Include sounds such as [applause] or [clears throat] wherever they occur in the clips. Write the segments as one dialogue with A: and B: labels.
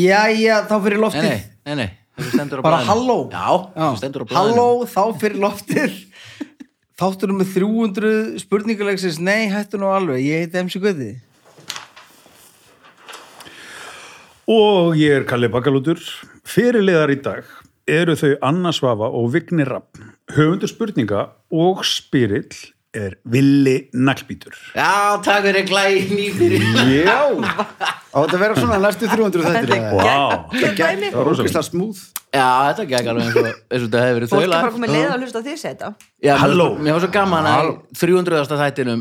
A: Jæja, þá fyrir
B: Nei,
A: loftið.
B: nei, nei, nei, þessu stendur á
A: Bara
B: blaðinu.
A: halló.
B: Já,
A: Já.
B: þessu stendur á blaðinu.
A: Halló, þá fyrir loftið. Þáttur nummer 300 spurningulegsins. Nei, hættu nú alveg. Ég heiti MC Guði.
C: Og ég er Kalli Bakalútur. Fyrirliðar í dag eru þau Anna Svafa og Vigni Rapp. Höfundur spurninga og spyrill er Villi Naglbítur.
B: Já, takk fyrir glæni fyrir.
D: [laughs] Já Á þetta að vera svona næstu 300 þættir
C: Vá, wow.
D: Þetta er
C: Það er rosalegt.
D: ógeðslega smooth
B: Já, þetta gekk alveg eins og, eins og þetta hefur verið
E: Fólk er
B: þaula.
E: bara komið leið að hlusta á því þetta
B: Já, mér-
C: Halló.
B: Mér var svo gaman að í 300. þættinum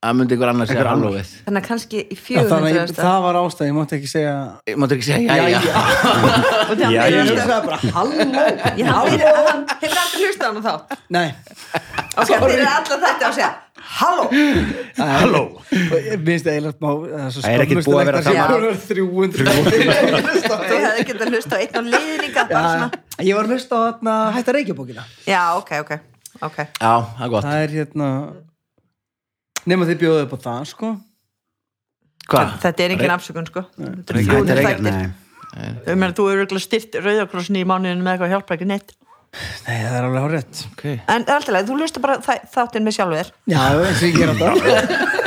B: að myndi ykkur annars segja hallóið.
E: Þannig að kannski í
A: Já, Þannig, að
E: 400
A: ég- það var ástæð, ég mátti ekki segja...
B: Máttu ekki segja jæja.
E: Og það
C: Já,
E: er
C: já.
E: alltaf
A: bara halló.
E: Ég hann fyrir að hann hefur aldrei hlustað á hann þá
A: Nei,
E: Ok, þeir eru alltaf þetta að segja Halló
C: halló.
A: ég minnst eiginlega eh, má...
D: Það er ekkert búið að vera
E: gaman.
A: gaman. 300.
E: Þú hefði getað að hlusta á einn og leiðninga
A: Já,
E: bara svona
A: ég var að hlusta á þarna hætta reykjabókina.
E: Já, ok, ok, ok
B: Já, það er gott.
A: Það er hérna... Nefnum þið bjóðu upp á það, sko.
B: Hvað?
E: Þetta er engin afsökun sko Ah, Þetta er
D: Þetta er
E: 300
D: ekkert,
E: þættir
D: nei
E: Þau meina þú eru örugglega styrt rauðakrossin í mánuðinu með eitthvað hjálpa ekki neitt
A: Nei, það er alveg hárétt.
B: Okay.
E: En það er alltaf leið, þú hlusta bara þæ- þáttinn með sjálfur þér
A: Já, eins og ég ger alltaf.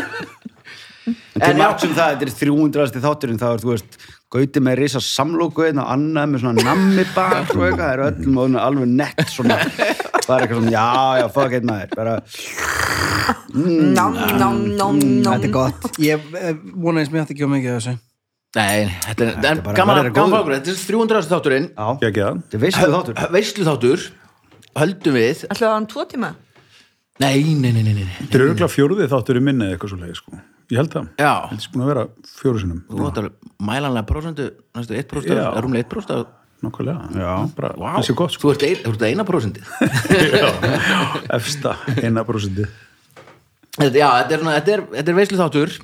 D: En til margt sem það, þetta er 300 þátturinn Það er, þú veist, gauti með risa samlóku einn og annað með svona nammi bar og eitthvað, það er öllum og alveg nett svona, það er eitthvað svona já, já, fuck it maður, bara
E: Nám, nám, nám,
A: Mm. Þetta er
E: nám
A: gott. Ég eh, vona eins mér átti ekki á mikið af þessu.
B: Nei, þetta er, en
D: bara-
B: gaman
D: bara
B: að
D: er
B: gaman
D: góður.
B: okkur. Þetta er 300. þátturinn.
D: já,
C: Ég ekki það.
D: þetta er veistu þáttur
B: Veislu þáttur, höldum við.
E: Ætlaðu að hann tvo tíma?
B: Nei, nei, nei, nei, nei, nei.
C: Þetta er örgulega fjóruðið þáttur í minni eða eitthvað svo leið, sko. Ég held það.
B: Já.
C: Þetta er búin að vera fjóru sinnum.
B: Þú átt alveg mælanlega prósentu, næstu 1%,
C: Já.
B: eða rúmlega 1% af-
C: Nákvæmlega. Já. Bara,
B: Vá.
C: það sé
B: [laughs]
C: gott, sko.
B: Þú ert, ein, þú ert eina
D: [laughs]
B: prósentið.
C: Efsta, eina prosentið.
B: þetta, já, þetta er, svona- þetta er, þetta er veislu þáttur,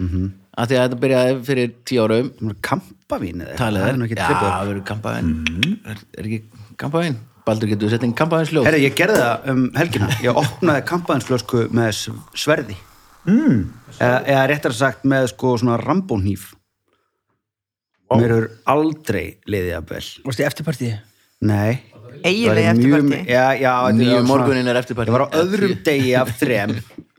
D: Mhm.
B: af því að þetta byrjaði fyrir tíu árum,
D: Þú er kampavín eða eitthvað,
B: talið
D: það
B: er.
D: er nú ekki Mhm.
B: já,
D: trippið
B: það verður kampaðin. Er, er ekki kampaðin? Baldur, getur þú sett inn kampaðins ljóð?
D: Herra, ég gerði það um helgina. Ég opnaði kampaðinsflösku með s- sverði. Mm. Eða, eða réttar sagt með sko svona rambónhýf. Mér er aldrei liðið að vel.
A: Varstu í eftirpartíi?
D: Nei.
E: Eiginlega
D: Það er
E: eftir
D: mjög-
E: partí.
D: Já, já. þetta
B: Níu
D: svona-
B: morguninn er eftir partí.
D: Ég var á öðrum
B: Tíu.
D: degi af þrem.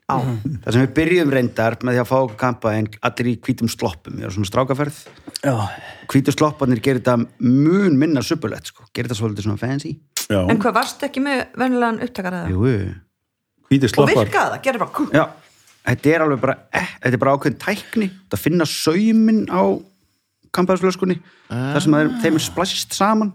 E: Á.
D: Það sem við byrjum reyndar með því að fá okkur kampaðin allir í hvítum sloppum. Ég var svona strákaferð.
A: Já.
D: Hvítu slopparnir gerir þetta mun minna suppulett, sko. Gerir þetta svolítið svona fancy.
C: Já.
E: En hvað varstu ekki með venjulegan upptakar eða?
D: Jú, jú.
C: Hvíti
E: Og
C: slappar.
E: virkaði það, gerði bara kú
D: Já, þetta er alveg bara eh, þetta er bara ákveðin tækni þetta finna saumin á kampaðisflöskunni þar sem þeir, þeim er splæst saman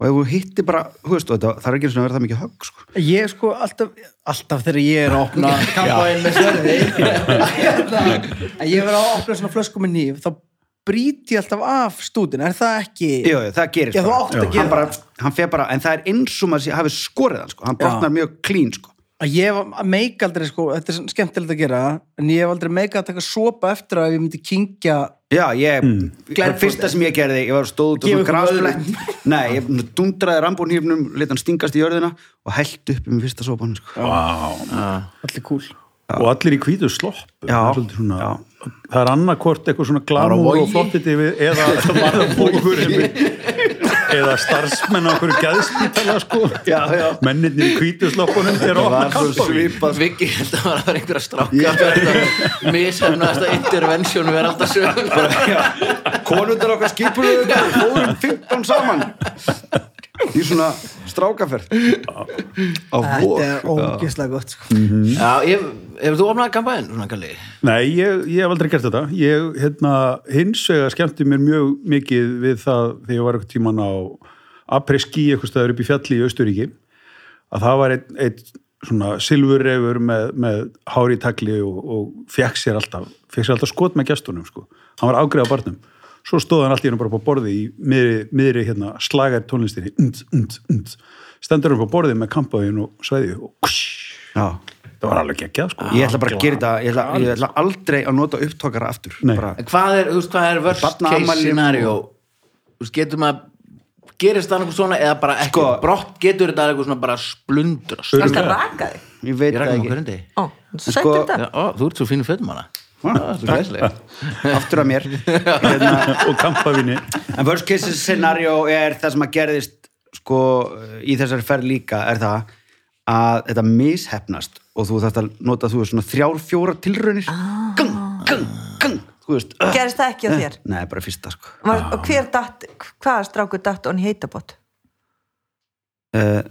D: og ef þú hittir bara, þú veist, og þetta, það er ekki einu sinni að vera það mikið högg sko.
A: Ég sko alltaf, alltaf þegar ég er að opna kampaðin með sverði [laughs] hérna, að ég verið að opna svona flösku með nýf, þá brýt ég alltaf af stúdin, er það ekki
D: Jú, jú, það gerir
A: Já, þú átt að gera
D: hann, bara, hann fer bara, en það er eins og maður sé- hafi skorið hann, sko. hann brotnar mjög klín sko.
A: að ég var- að meik aldrei sko, þetta er svona skemmtilegt að gera en ég hef aldrei meika að taka sopa eftir að ef ég myndi kingja
D: Já, ég, mm. fyrsta sem ég gerði, ég var stóð út á
A: Gefið
D: svona
A: ykkur
D: grásblett Nei, ég dundraði rambónhýfnum, let hann stingast í jörðina og held upp um fyrsta sopan sko.
A: allir kúl
C: og allir í hvítu slopp
D: Já.
C: það er, svolítið svona, það er annarkvort eitthvað svona glamúr
B: Vogi.
C: og flottit yfir eða
D: [laughs]
C: varðabókur eða starfsmenn á okkur gæðspítala sko. mennirnir í hvítu sloppunum er að opna kampavín
B: Viki, þetta var að vera einhverja stráka Mísefnaðasta intervention við erum alltaf sögum
D: [laughs] konundar okkar skipur þetta og fórum 15 saman í svona strákaferð á
A: þetta er ógeðslega gott sko.
B: Já, ég- hefur þú opnað kampaðin, svona kalli?
C: Nei, ég, ég hef aldrei gert þetta ég hérna, hins vegar skemmti mér mjög mikið við það þegar ég var eitthvað tíman á apreski eitthvað staður upp í fjalli í Austuríki að það var einn ein, svona silfurreifur með, með hári í tagli og, og fekk sér alltaf fekk sér alltaf skot með gestunum sko. hann var ágreð á barnum svo stóð hann alltaf hérna bara på borði í miðri, miðri hérna, slagar tónlistinni und, und, und. stendur hann på borði með kampaðin og sveiði og ksh,
D: Já.
C: það var alveg geggjað sko.
D: ég ætla bara að gera þetta ég ætla, ég ætla aldrei að nota upptokara aftur
C: Nei.
D: bara,
B: Hvað er, þú veist, hvað er worst case
D: Barnaafmæli-
B: scenario? Þú veist, getur maður gerist það eitthvað svona eða bara ekki
D: Sko-
B: brott getur þetta eitthvað svona bara splundrast
E: Varstu að raka þig?
D: ég
B: Ég
D: veit það
B: rækna
D: ekki
B: okkur hundi
E: Ó,
D: sko-
E: sættu þetta
B: Ó, þú ert svo fínu fötum hana það er svo gæslegt
D: aftur að mér [laughs] hérna,
C: [laughs] og kampavinni
D: En worst case scenario er það sem að gerðist sko í þessari ferð líka er það að þetta misheppnast og þú þarft að nota þú veist svona þrjár, fjórar tilraunir gang, gang, gang þú veist uh.
E: Gerist það ekki á þér?
D: Nei, bara fyrsta sko
E: Var, og hver datt, hvaða strákur datt on heitabot?
D: uh,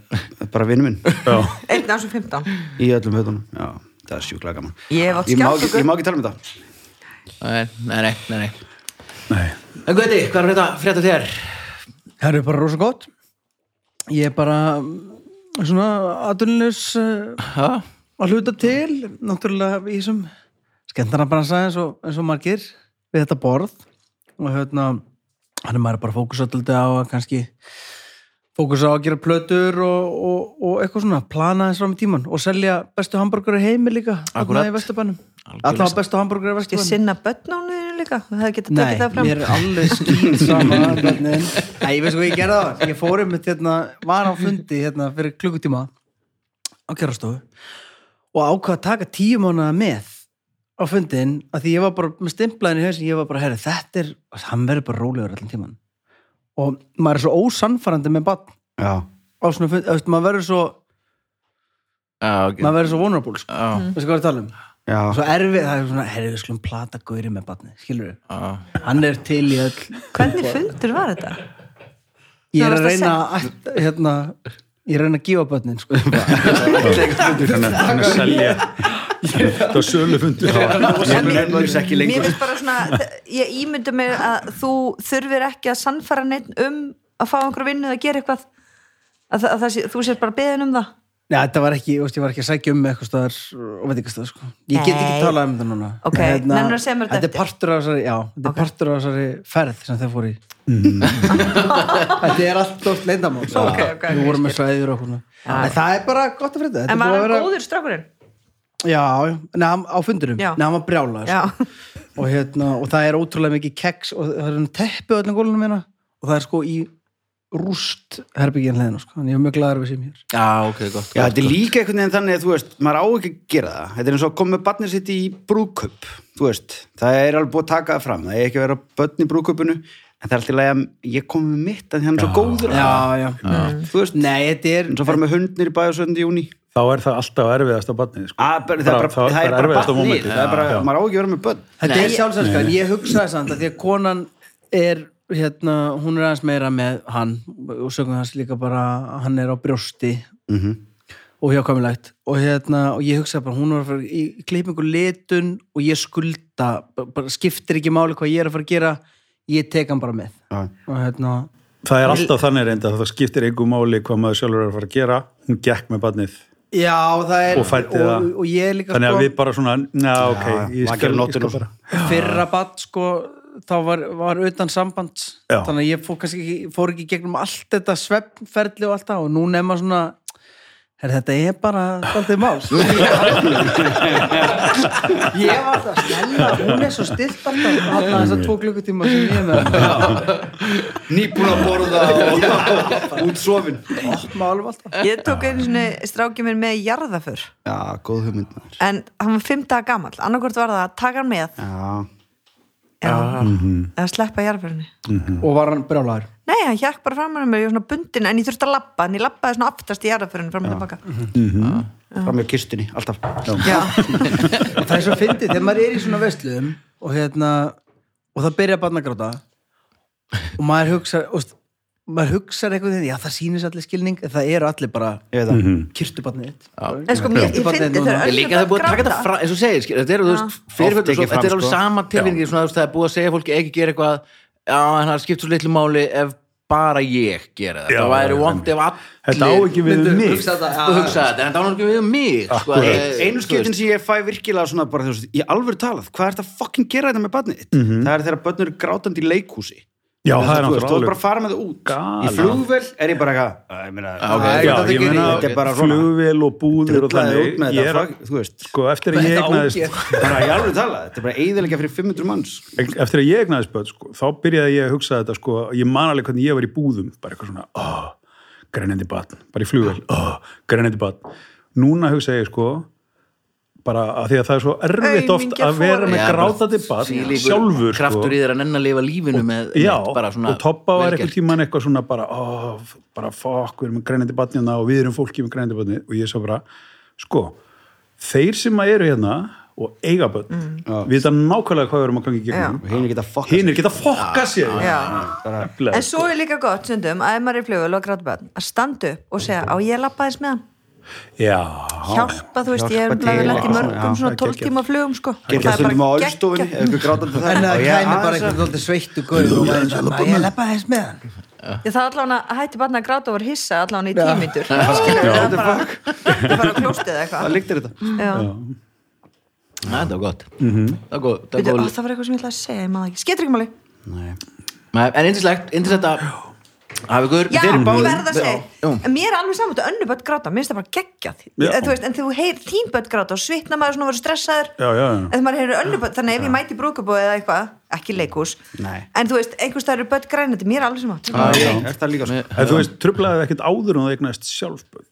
D: bara vinnu minn
E: Einn af þessum 15
D: í öllum höfðunum Já, það er sjúklega gaman
E: Ég hef átt
D: ég má,
E: skjátt
D: ekki,
E: og
D: ég má ekki tala um þetta
B: Nei, nei, nei, nei, nei.
C: Nei,
B: En Guði, hvað er þetta frétta þér?
A: Það er bara rosa gott Ég er bara mm, svona eh, aðdunlis
B: Ha?
A: að hluta til náttúrulega í þessum skemmtarnabransa eins og, eins og margir við þetta borð og hérna hann er maður bara fókusallandi á að kannski fókusa á að gera plötur og, og, og eitthvað svona, plana þess fram í tíman og selja bestu hambúrgar í heimi líka þarna
B: Akkúrat.
A: í Vesturbænum
B: Algjörlega.
A: alltaf bestu hambúrgar í
E: Ég
A: Vesturbænum
E: sinna börnónuðinu líka Það hefði getað
A: Nei,
E: tekið það fram
A: mér er alveg skýt sama hvernig- Nei, ég veist hvað ég gerði það Ég fór einmitt hérna, var á fundi hérna fyrir klukkutíma á kjærastofu og ákvað að taka tíu mánuða með á fundin að því ég var bara með stimplaðin í hausin ég var bara, herri, þetta er, hann verður bara rólegur allan tíman og maður er svo ósannfærandi með bann
D: Já,
A: á svona fundi, þú veist, maður verður svo
B: Já, ok.
A: maður verður svo vulnerable, sko,
B: Já,
A: veistu hvað ég er að tala um
D: já,
A: svo erfið, það er svona, herri, við skulum plata gauri með banni, skilur
B: já.
A: hann er til í öll
E: Hvernig fundur var þetta?
A: Ég er
E: Þú
A: að
E: varst að
A: reyna að, hérna, ég er að reyna að gefa börnin, sko.
C: þannig þannig að selja þetta var sölufundur
D: ég nefnur þess ekki
E: Mér
D: lengur
E: finnst bara svona, ég ímyndu mér að þú þurfir ekki að sannfara neitt um að fá einhverju vinnu eða gera eitthvað að, að, að sé, þú sér bara beðin um það
A: Nei, þetta var ekki, þú veist, ég var ekki að sækja um eitthvað staðar og veit ekki staðar, sko. Ég get ekki
E: Nei.
A: talað um þetta núna.
E: Ok, nennirðu að segja mér þetta
A: þetta
E: eftir?
A: er partur af þessari, já, þetta er partur af þessari ferð sem þeir fóru í. [laughs] þetta er allt stórt leindamál.
E: Ok, ok, ok,
A: Við vorum með
E: ég
A: svæður og svona. En það er bara gott að frétta. Þetta er
E: En var
A: búið að
E: hann
A: vera-
E: góður strákurinn?
A: Já, já, neðan á fundurum.
E: Já.
A: Neðan var brjálaður, sko.
E: Já,
A: og, hérna, og það er ótrúlega mikið keks og það er hann teppi á öllum gólunum hérna og það er sko í rúst herbyggin hliðina sko, en ég er mjög gladur við sem hér
B: Já, ok, gott.
D: Já,
B: gott.
D: þetta er líka einhvern veginn þannig að þú veist, maður á ekki að gera það. Þetta er eins og að koma með barnið sitt í brúköp, þú veist. Það er alveg búið að taka það fram, það er ekki að vera börn í brúköpunu, en það er alltaf að ég kom með mitt að því hann er svo góður.
A: Já, já,
D: Þú veist,
A: Nei, þetta er
D: eins og að fara með hundnir í bæðu 7. júni.
C: þá er það alltaf erfiðast á barnið sko.
D: Það er Ah, bara, það er bara, það er bara
C: erfiðasta
D: barnið,
C: momentið.
D: það er bara,
C: Já.
D: maður á ekki að vera með börn.
A: Þetta er sjálfsænska, en ég hugsaði samt að því að konan er, hérna, hún er aðeins meira með hann og sögum hans líka bara að hann er á brjósti Mhm. og hjákvæmilegt og hérna, og ég hugsaði bara, hún var að fara í klippingu litun og ég skulda bara, bara skiptir ekki máli hvað ég er að fara að gera ég tek hann bara með
D: Já.
A: og hérna,
C: það er alltaf þannig reynda að það skiptir einhver máli hvað maður sjálfur er að fara að gera hún gekk með barnið
A: já, það er
C: Og fæddi
A: og,
C: það.
A: og ég er líka
C: þannig að
A: sko-
C: við bara svona, já ok ég
D: maður
C: skal,
D: gerir
C: ég
D: nóttina
C: skal
D: og
C: bara
A: fyrra badd sko þá var, var utan samband
C: Já.
A: þannig að ég fór, kannski, ekki- fór ekki í gegnum allt þetta svefnferli og allt það og nú nema svona er þetta er bara alltaf [laughs] mál ég var það stella hún er svo stilt alltaf alltaf þess að tvo klukkutíma sem ég er með
D: Nýbúin að borða [laughs] og út sofin.
A: málum alltaf
E: ég tók einu sinni strákið minn með í jarðaför
D: Já, góð hugmynd maður.
E: en hann var fimm daga gamall annarkvort var það að taka hann með
D: Já,
E: eða, eða sleppa jarðaförunni
A: og var hann brjálæður
E: Nei, hann hjekk bara fram að mér, ég var svona bundin en ég þurfti að labba, en ég labbaði svona aftast í jarðaförunni fram og tilbaka
D: fram með kistunni, alltaf.
E: Já,
A: [laughs] það er svo fyndið, þegar maður er í svona veistlum og hérna og það byrja að barna gráta og maður hugsa og st- maður hugsa einhvern veginn, já það sýnir allir skilning en það eru allir bara
D: Ég veit það.
C: Mhm.
A: kyrtu barnið þitt
E: en sko, mér, ég
A: Barnið
E: fyndi
A: núna.
E: þegar
B: Ég líka það er búið að taka þetta
E: gráta.
B: fram, eins og segir, skil, þetta er, þú veist,
D: Oft
B: fyrirfjöldur,
D: ekki
B: þetta er
D: fram,
B: alveg
D: sko.
B: sama tilfinningi, svona, þú veist, það er búið að segja fólki ekki gera eitthvað, já, en það skiptir svo litlu máli ef bara ég gera það,
C: Já,
B: það væri
C: já,
B: vond ef allir
C: Þetta á ekki við um
B: myndu
C: mig.
B: hugsa þetta, og hugsa þetta, en það á ekki við um mig, sko,
C: Akkúrat.
B: eh,
D: einu
B: þú veist.
D: skiptin sem ég fæ virkilega svona bara þú veist, ég alveg talað, hvað er þetta að fucking gera þetta með barnið þitt? Það er þegar börnur eru grátandi í leikhúsi.
C: Mhm. Já,
D: Þú
C: það er
D: veist, þú veist, Þú er
C: náttúrulega
D: bara að fara með það út.
C: Galið.
D: Í flugvel er ég bara eitthvað, að, ég meina,
B: ok.
D: að,
B: Já,
C: Já, ég meina,
D: þetta er bara svona,
C: flugvél og búðir og
D: drullar út
C: þannig
D: með
C: ég
D: þetta,
C: er,
D: fuck, þú veist.
C: sko, eftir að ég
A: ógeð.
C: egnaðist
D: Bara ég alveg talað, þetta er bara eiðilega fyrir 500 manns.
C: eftir að ég egnaðist börn, sko, þá byrjaði ég að hugsa þetta sko, ég man alveg hvernig ég var í búðum bara eitthvað svona, oh, grænandi batn bara í flugvel, oh, grænandi batn núna hugsa ég sko bara að því að það er svo erfitt oft að vera með
E: Aumingjaforeldrar.
C: grátandi barn
B: Þvílíkur
C: sjálfur sko.
B: kraftur í þeir að nenn að lifa lífinu með, með
C: Já,
B: bara svona
C: og Toppa var
B: vel
C: eitthvað
B: gert.
C: tíman eitthvað svona bara, ó, f- bara fokk, við erum með grænandi batnina og við erum fólki með grænandi batni og ég sá bara, sko, þeir sem að eru hérna og eiga börn,
E: Mm.
C: vita nákvæmlega hvað við erum að gangi í gegnum.
D: Hinn er geta fokk
C: Hinn er geta fokka sér.
E: Já.
C: Nefnilega,
E: en svo er líka gott sundum að ef maður er í flugul og gráta börn að standa upp og segja á ég lappa þess með hann
C: Já.
E: hjálpa þú veist ég er
D: Hjálpa til,
E: umlaðið lent í
D: já,
E: mörgum
D: já,
E: svona
C: það er
E: 12
C: geggjað.
E: tíma flugum sko
D: Gerið það stundum á ölstofunni, ef ykkur grátandi það
A: en það
D: Já,
A: kæmi bara
D: aðeins að-
A: eitthvað dálítið sveittu guður og væri svona, "Má ég leppa þess með hann
E: Ég, það allan að hætti barna að gráta over hissa allan í tímitur skilur við það er bara það er bara klóstið
D: Það
E: eða eitthvað
D: líktir þetta
E: Já.
B: Næ, það var gott
C: Mhm.
B: það var góð, það
E: Bíddu,
B: var
E: ó,
B: góð
E: það var eitthvað sem ég ætlaði að segja ég maður ekki skilur ekki máli
B: Nei, en indislegt, indislegt að hafa ykkur
E: Já,
B: þeir
E: ég
B: eru báðir-
E: verð að segja
B: Já, já.
E: En mér er alveg saman að önnu börn gráta Mér finnst það bara geggjað
C: Já.
E: En þú veist, En þú heyr þín börn gráta og svitna maður svona verður stressaður
C: Já, já, já.
E: En þegar maður heyrir önnu börn Þannig ef ég mæti brúkabóð eða eitthvað Ekki leikús
D: Nei.
E: En þú veist, einhvers það eru börn grænandi Mér er alveg saman
D: Já, er það líka sko
C: En þú veist, trublaði ekkert áður en það eignast sjálf börn.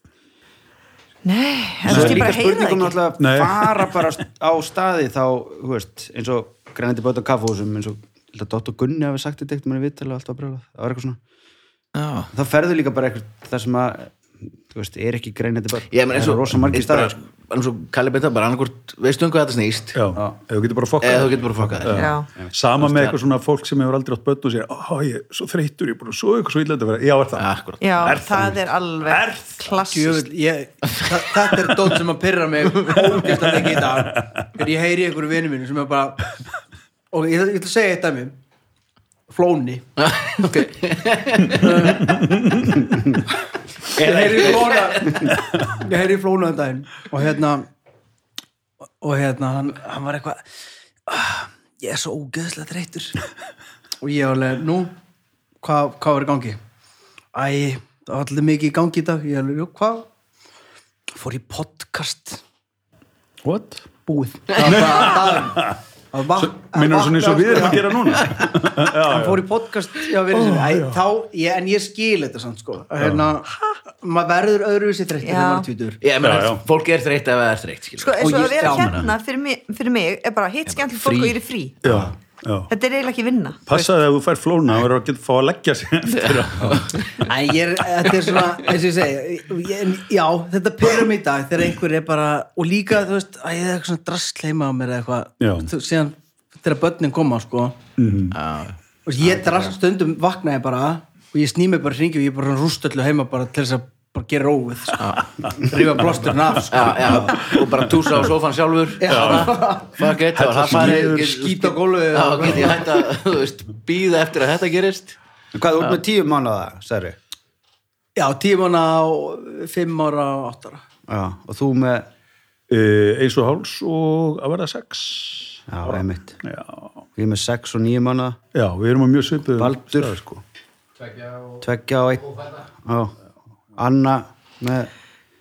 E: Nei, en þú
D: Það
E: veist,
D: er
E: ég
D: líka
E: bara heyri það
D: spurningum
E: ekki
D: alltaf
C: Nei.
D: að fara bara á staði þá, þú veist, eins og grænandi bötta kaffahúsum, eins og ég held að Dott og Gunni hafi sagt þetta eitthvað manni vitt alveg alltaf að brjóla það var eitthvað svona,
B: Já.
D: þá ferðu líka bara eitthvað það sem að, þú veist, er ekki grænandi bötta,
B: Ég menn eins
D: það
B: og
D: er rosa margir
B: eins bara-
D: staðar sko.
B: bara eins og Kalli Benta bara annarkvort veistu um hvað þetta snýst
C: Já, ef þú getur bara fokkað.
B: eða þú getur bara fokkað þér
E: Já.
C: Sama með eitthvað svona fólk sem hefur aldrei átt börn og sér, ó, ég er svo þreyttur, ég er búin að svo eitthvað svo illa að vera. Já, er það.
B: Akkurat.
E: Já, það er alveg klassist
A: Djöfull, ég, þa- þetta er dót sem að pyrra mig ógeðslega ekki í dag þegar ég heyri einhverju vinnu mínu sem er bara og ég, ætla- ég ætla að segja eitt af mér flóni
B: [laughs] ok
A: ég heyri í flóna ég heyri í flóna um daginn og hérna og hérna hann, hann var eitthvað "Ah, ég er svo ógeðslega þreytur og ég alveg nú hvað hva var í gangi æ, það var allir mikið í gangi í dag ég alveg, "Jú, hvað fór í podcast
C: What?
A: [laughs] búið það var bara dagurinn. að
E: Ah,
A: vakna
C: Minnum svona eins og við erum að gera núna.
A: hann fór í podcast já, oh, Æ, þá, ég, en ég skil þetta samt sko hérna, maður verður öðruvísi þreyttur
E: Já.
A: þegar maður er tvítur
B: ég
C: Já, já.
B: menn fólk er þreytt ef það er þreytt skilur.
E: Sko, eins
A: Og
E: og að
A: ég-
E: vera
A: já.
E: hérna fyrir mig, fyrir mig er bara hitt skemmtileg fólk
B: frí.
E: og ég er í frí
C: Já, já.
E: Þetta er eiginlega ekki vinna
C: Passaði að þú fær flóna, þú verður að geta fá að leggja sér eftir að... [laughs]
A: Æ, ég er, þetta er svona, eins og ég segi ég, en já, þetta pyrrum í dag þegar einhver er bara, og líka þú veist að ég er eitthvað svona drast heima á mér eða
C: Já.
A: eitthvað Þú- síðan þegar börnin koma sko og ég drast stundum vakna ég bara og ég sný mig bara hringi og ég er bara svona rústöllu heima bara til þess að bara gera róið sko. rífa blósturinn af sko.
B: já, já, og bara túsa á sófan sjálfur [laughs] fuck it,
C: Hella
B: það farið
C: skýður,
B: get-
A: skít á gólfið.
B: já, get ég hægt að, þú veist, býða eftir að þetta gerist
D: En Hvað, þú ert með tíu mánuða, sagði
A: Já, tíman á fimm ára og átt ára.
D: Já, og þú með,
C: Uh, eins og háls og að verða sex.
D: já, einmitt
C: Já,
D: ég er með sex og níu mánuða
C: já við erum að mjög svipuðum.
D: Baldur.
C: stað, sko.
D: tveggja og einn Já. Anna með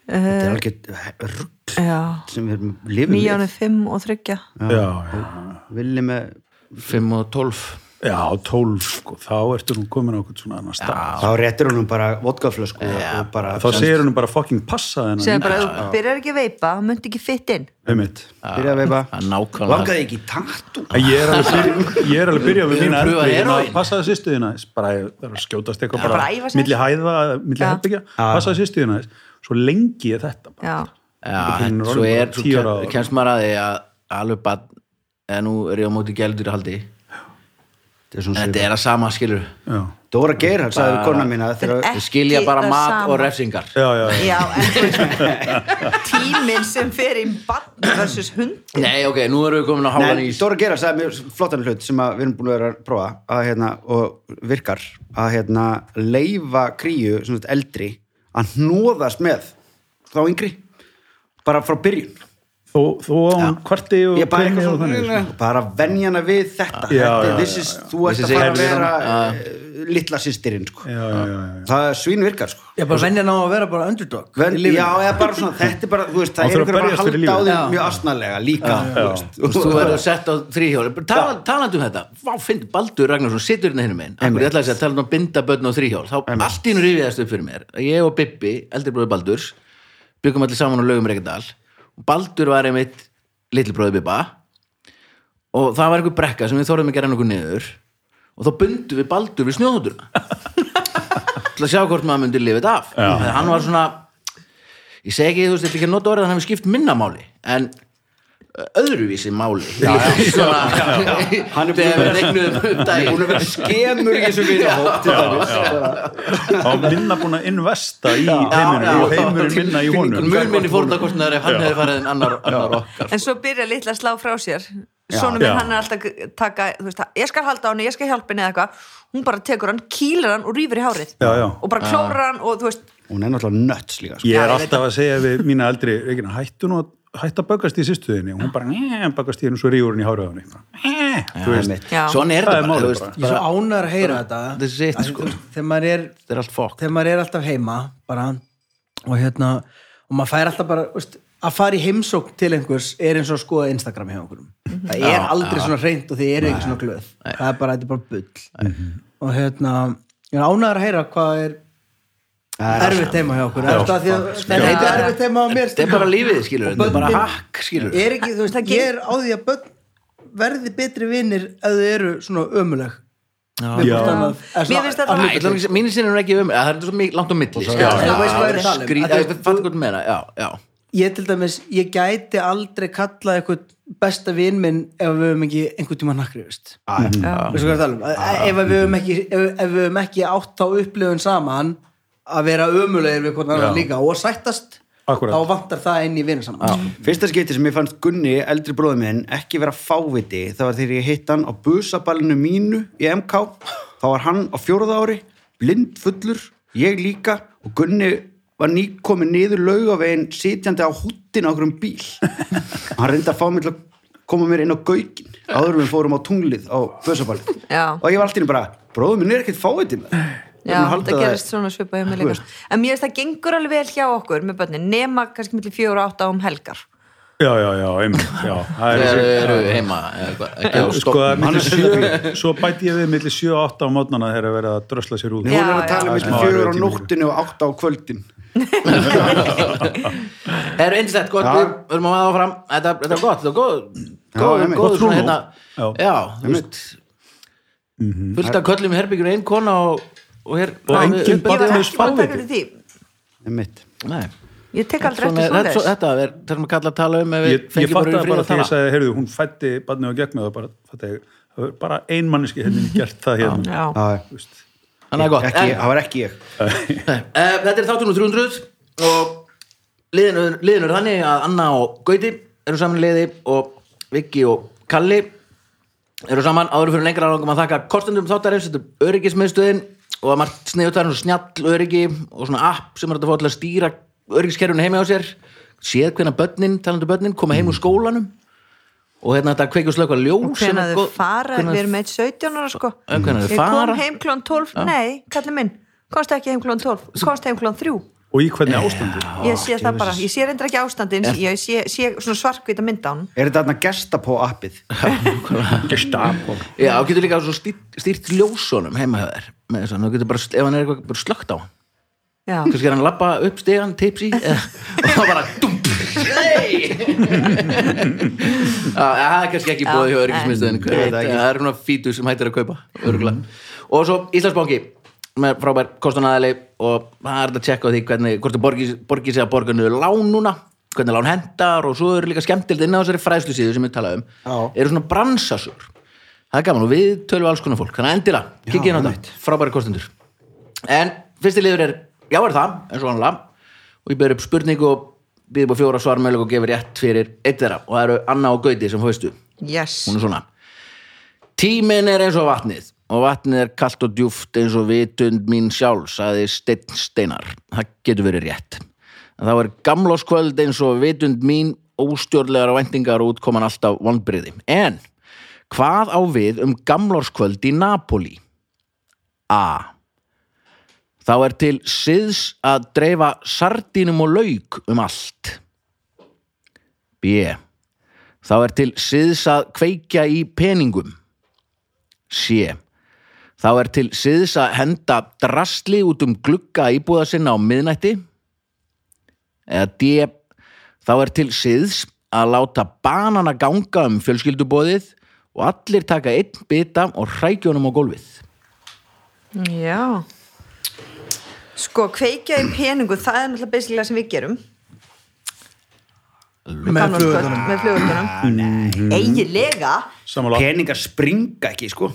E: Eh.
D: þetta er alveg rugg
E: Já,
D: sem við lifum
E: nýjánu, fimm og þryggja
C: Já, já.
D: villi með
B: 5 og 12
C: Já, tólf, sko. Þá ertu nú komin á eitthvað svona annar stað.
D: þá réttir hún bara vodkaflösku og bara
C: Þá segir hún bara fucking passa þennan.
E: Segðu bara, ef þú byrjar ekki að veipa þá myndi ekki fytt inn
C: Einmitt.
D: byrja að veipa
B: að nákvæmlega
D: langaði ekki í tattu
C: En Ég er alveg byrjað, ég er alveg byrjað við
B: Við erum að
C: mína
B: prufa
C: erfið hérna,
B: heroín.
C: passaði sýstu þína aðeins. bara ég þarf að skjótast eitthvað
E: bara
C: bara,
E: æfa sig
C: milli hæða, milli
E: Já.
C: herbyggja passaði sýstu þína aðeins. svo lengi er þetta bara.
E: Já,
B: Já,
C: Þetta er
B: svo er,
C: bara
B: svo
C: tíu ára
B: ken-
C: áður.
B: kemst maður að því að alveg bann, eða nú er ég á móti gældur haldi,
D: Þetta er svona
B: þetta
D: svipað.
B: er að sama skilur
C: Já,
D: Dóra Geirhard sagði kona mín að
E: Þetta er
D: þegar
E: ekki
B: skilja bara
E: það
B: mat
E: sama.
B: og refsingar
C: já, já, já.
E: já en þú veist tíminn sem fer í bann versus hund
B: Nei, ok, nú erum við komin á hálfan
D: Nei,
B: ís
D: Dóra Geirhard sagði mjög flottan hlut sem að við erum búin að vera að prófa að, hérna, og virkar að hérna, leifa kríu sem sagt, eldri að hnóðast með þá yngri bara frá byrjun
C: Þó, þó á hún kvarti og
D: ég bara
C: kveini og
D: eitthvað
C: þannig. sko.
D: svona bara venjana við
C: Já,
D: þetta þetta,
C: já,
D: this
C: já,
D: is, þú
B: This is
D: ert að fara að
B: it.
D: vera
B: Já.
D: uh, litla sýstirinn sko.
C: Já, já, já, já.
D: það svín virkar sko.
A: Ég bara venja ná að vera bara underdog.
D: Ven,
A: í lífinu.
D: já, eða bara svona, þetta er bara þú veist,
C: Hann
D: það er
C: þarf að
D: ykkur að
C: berjast fyrir
D: halda á
C: lífinu.
D: því
A: Já.
D: mjög asnalega líka þú veist.
B: Þú
D: [laughs]
B: veist, þú verður sett á þrýhjóli Tal, talandi um þetta, vá, finn, Baldur Ragnarsson situr hérna hinn minn, akkur ég ætlaði að segja talandi um að binda börn á þrýhjól, þá allt í nú rifiðast upp fyrir mér, ég og Bibbi, eldri bróði Baldurs byggum allir saman á laugum Reykjadal og Baldur var einmitt litli bróði Bibba og það var einhver brekka sem við þorðum ekki að renna okkur niður og þá bundum við Baldur við snjóðutuna til að sjá hvort maður myndi lifið af
C: Já.
B: En hann var svona ég segi ekki, þú veist, ég ætla ekki að nota orðið að hann hefur skipt minna máli en öðruvísi máli já, já, svona,
D: Hann er búinn
B: þegar við regnuðum upp daginn
D: Hún er verið skemur í þessu vinahóp til dæmis.
C: á minna búin að investa í
B: Já,
C: heiminum
B: já.
C: og heimurinn minna í honum
B: mun minni fórnarkostnaður ef hann
C: Já.
B: hefði farið en annar, annar okkar
E: en svo byrja litla að slá frá sér svona minn
C: Já.
E: hann er alltaf að taka þú veist, ég skal halda á henni, ég skal hjálpa henni eða eitthvað hún bara tekur hann, kýlar hann og rýfur í hárið
C: Já, já.
E: og bara klórar hann og þú veist
D: Hún er náttúrulega nötts líka. sko.
C: Ég
E: Já,
C: er
E: ég
C: alltaf að segja við mína eldri Regina, hættu nú að hættu að böggast í sýstuðinni og hún bara, neeeem, böggast í henni og svo ríður henni í háraðunni þú veist,
E: já,
B: svona er þetta
C: Það er
B: bara,
C: málið
B: þú veist,
C: bara.
A: Ég er svo ánar að heyra þetta
B: þetta er sitt,
A: Af því,
B: sko.
A: þú veist, Þegar maður er
B: þetta er allt fokk
A: þegar maður er alltaf heima bara, og hérna og maður fær alltaf bara veist, að fara í heimsókn til einhvers er eins og að skoða Instagram hjá einhverjum það er aldrei svona hreint og þið eru ekki svona glöð það er bara, þetta er bara bull
B: Mhm.
A: og hérna, ég er ánægður að heyra hvað er erfitt heima hjá okkur er þetta því að þetta er erfitt heima á mér
B: sko. þetta er bara lífið, skilur, þetta er bara
A: börnin-
B: hakk, skilur
A: er ekki, þú veist,
E: Það
A: ég er á því að börn verði betri vinnir ef þau eru svona ömuleg
C: Já.
E: Mér finnst þetta-
A: alveg
B: mínu sinni er ekki um það er þetta svo mikið langt á milli skilur.
A: já, já. Þú veist hvað ég er að tala um. Að
B: Skrýt-
A: þú-
B: ég fatt hvað þú meina, já, já
A: ég til dæmis, ég gæti aldrei kalla eitthvað besta vinn minn ef við höfum ekki einhvern tíma nakkriðust veistu hvað ég er að tala um Að- ef við höfum ekki, ef, ef við höfum ekki átt þá upplifun saman að vera ömulegir við hvernig annar
C: Já.
A: líka og sættast
C: Akkúrat.
A: þá vantar það inn í vinnu saman
D: Fyrsta skeiti sem ég fannst Gunni, eldri bróði minn, ekki vera fáviti, það var þegar ég hitt hann á busaballinu mínu í MK, þá var hann á fjóruða ári, blind fullur, ég líka og Gunni var nýkomin niður laugavegin sitjandi á húttin á okkur um bíl. Hann reyndi að fá mig til að koma mér inn á gaukin, áður en við fórum á tunglið á busaballinu.
E: Já.
D: Og ég var alltaf bara, bróði minn er ekkert fáviti með það. Ég er
E: Já,
D: búinn að halda
E: það gerist svona svipað hjá mér
D: Þú
E: líka
D: veist.
E: en mér finnst það gengur alveg vel hjá okkur með börnin, nema kannski millir fjóra og átta um helgar
C: já, já, já, einmitt já, það
B: þegar
C: er þessi-
B: þau eru heima eða eitthvað, ekki á
C: En sko,
B: stofnun.
C: milli
D: er
C: sjö, svo bæti ég við millir 7 og 8 á mótnana þegar að vera að drösla sér út
D: Nei, hún er að
E: Já,
C: já.
D: tala um
C: Smá
D: fjögur á
C: erfiður tími.
D: nóttinu og átta á kvöldin.
C: sko,
B: Það eru einstætt gott,
D: Já.
B: við erum að maður áfram Þetta þetta er gott, þetta er góð
D: Já,
B: góð,
D: einmitt.
B: góð
C: Gott
B: svona
C: rúmó.
B: hérna
C: Já. Mhm.
B: Já, þú veist Fullt af köllum í herbygginu, ein kona og, og, hér,
C: Og
B: ná,
C: engin
B: við-
E: Ég var
C: Barnið er
E: ekki búin að
C: spáviti.
E: taka fyrir því
D: Einmitt.
B: Nei.
E: Ég tek aldrei
B: Svona er-
E: eftir
B: þetta er svo- Þetta
E: svona
B: er það sem að kalla að tala um ef við
C: ég, ég
B: fengjum bara yfir
C: fattaði
B: frið að
C: bara þegar ég
B: tala
C: sagði, heyrðu, hún fætti barnið og gegn með það bara, fattaði ég, það er bara ein manneski henni gert það hérna
E: Já,
D: Já, já.
C: Þú veist.
B: Þannig að gott,
D: ekki,
B: en
D: það var ekki ég
B: Eh, Þetta er þáttunum 300 og liðinu, liðinu er þannig að Anna og Gauti eru saman í liði og Viki og Kalli eru saman áður fyrir lengra langum að þakka kostendum þáttarins, þetta er öryggismiðstöðin og að margt sniðutarinn og snjall öryggi og svona app sem er hægt að fá til að stýra öryggiskerfinu heima á sér séð hvenna börnin, talandi um börnin, koma heim úr skólanum og hérna þetta kveikjum slökva ljós
E: og hvenær þau fara,
B: hvenær-
E: við erum eitt 17 ára sko
B: En hvenær þau
E: Ég
B: fara?
E: kom heim klón 12, nei, kallið minn komst ekki heim klón 12, komst heim klón 3
C: og í hvernig ástandi
B: Ah,
E: ég sé það bara, ég sé reyndar ekki ástandin ég sé, sé svona svarkvita mynd á hann
D: Er þetta þarna gestapó appið?
C: gestapo
B: Já, þú getur líka svo stýrt, stýrt ljósunum heima hjá þér með þessan, þú getur bara, ef hann er eitthvað bara slögt á hann,
E: já,
B: kannski er hann að labba upp stegan, tipsi eða, og þá bara dump, nei [laughs] Já, það er kannski ekki bóðið hjá
E: Já,
D: nei. Ég veit
B: öryggismiðstöðin
D: það ekki.
B: það er svona fítu sem hættir að kaupa örgulega, og svo Íslandsbanki með frábær kostanæðali og það er þetta að tjekka á því hvernig, hvort þú borgi, borgi sig að borga niður lán núna hvernig lán hendar og svo eru líka skemmtild inn á þessari fræðslusíðu sem við talaðum
A: Já.
B: eru svona bransasur það er gaman og við tölum alls konar fólk þannig að endilega, kikið inn á það, frábæri kostendur en fyrsti liður er já er það, eins og annarlega og ég ber upp spurningu og býð upp á fjóra svarmölu og gefur rétt fyrir eitt þeirra og það eru Anna og Gauti sem fóðstu
E: yes
B: hún er svona Tíminn er eins og vatnið og vatnið er kalt og djúft eins og vitund mín sjálf, saði Steinn Steinar. Það getur verið rétt. En það var gamláskvöld eins og vitund mín óstjórlegar væntingar og útkoman alltaf vonbriði. En hvað á við um gamlárskvöld í Napoli? A. Þá er til siðs að dreifa sardínum og lauk um allt. B. Þá er til siðs að kveikja í peningum. C. Þá er til siðs að henda drasli út um glugga íbúða sinna á miðnætti. Eða D. Þá er til siðs að láta banana ganga um fjölskyldubóðið og allir taka einn bita og hrækjónum á gólfið.
E: Já Sko, kveikja í peningu það er náttúrulega basilega sem við gerum
A: með flugvöldunum
E: flugvöldunum Með Mm-hmm. flugvöldunum Eigilega,
C: Samanlega.
D: peningar springa ekki sko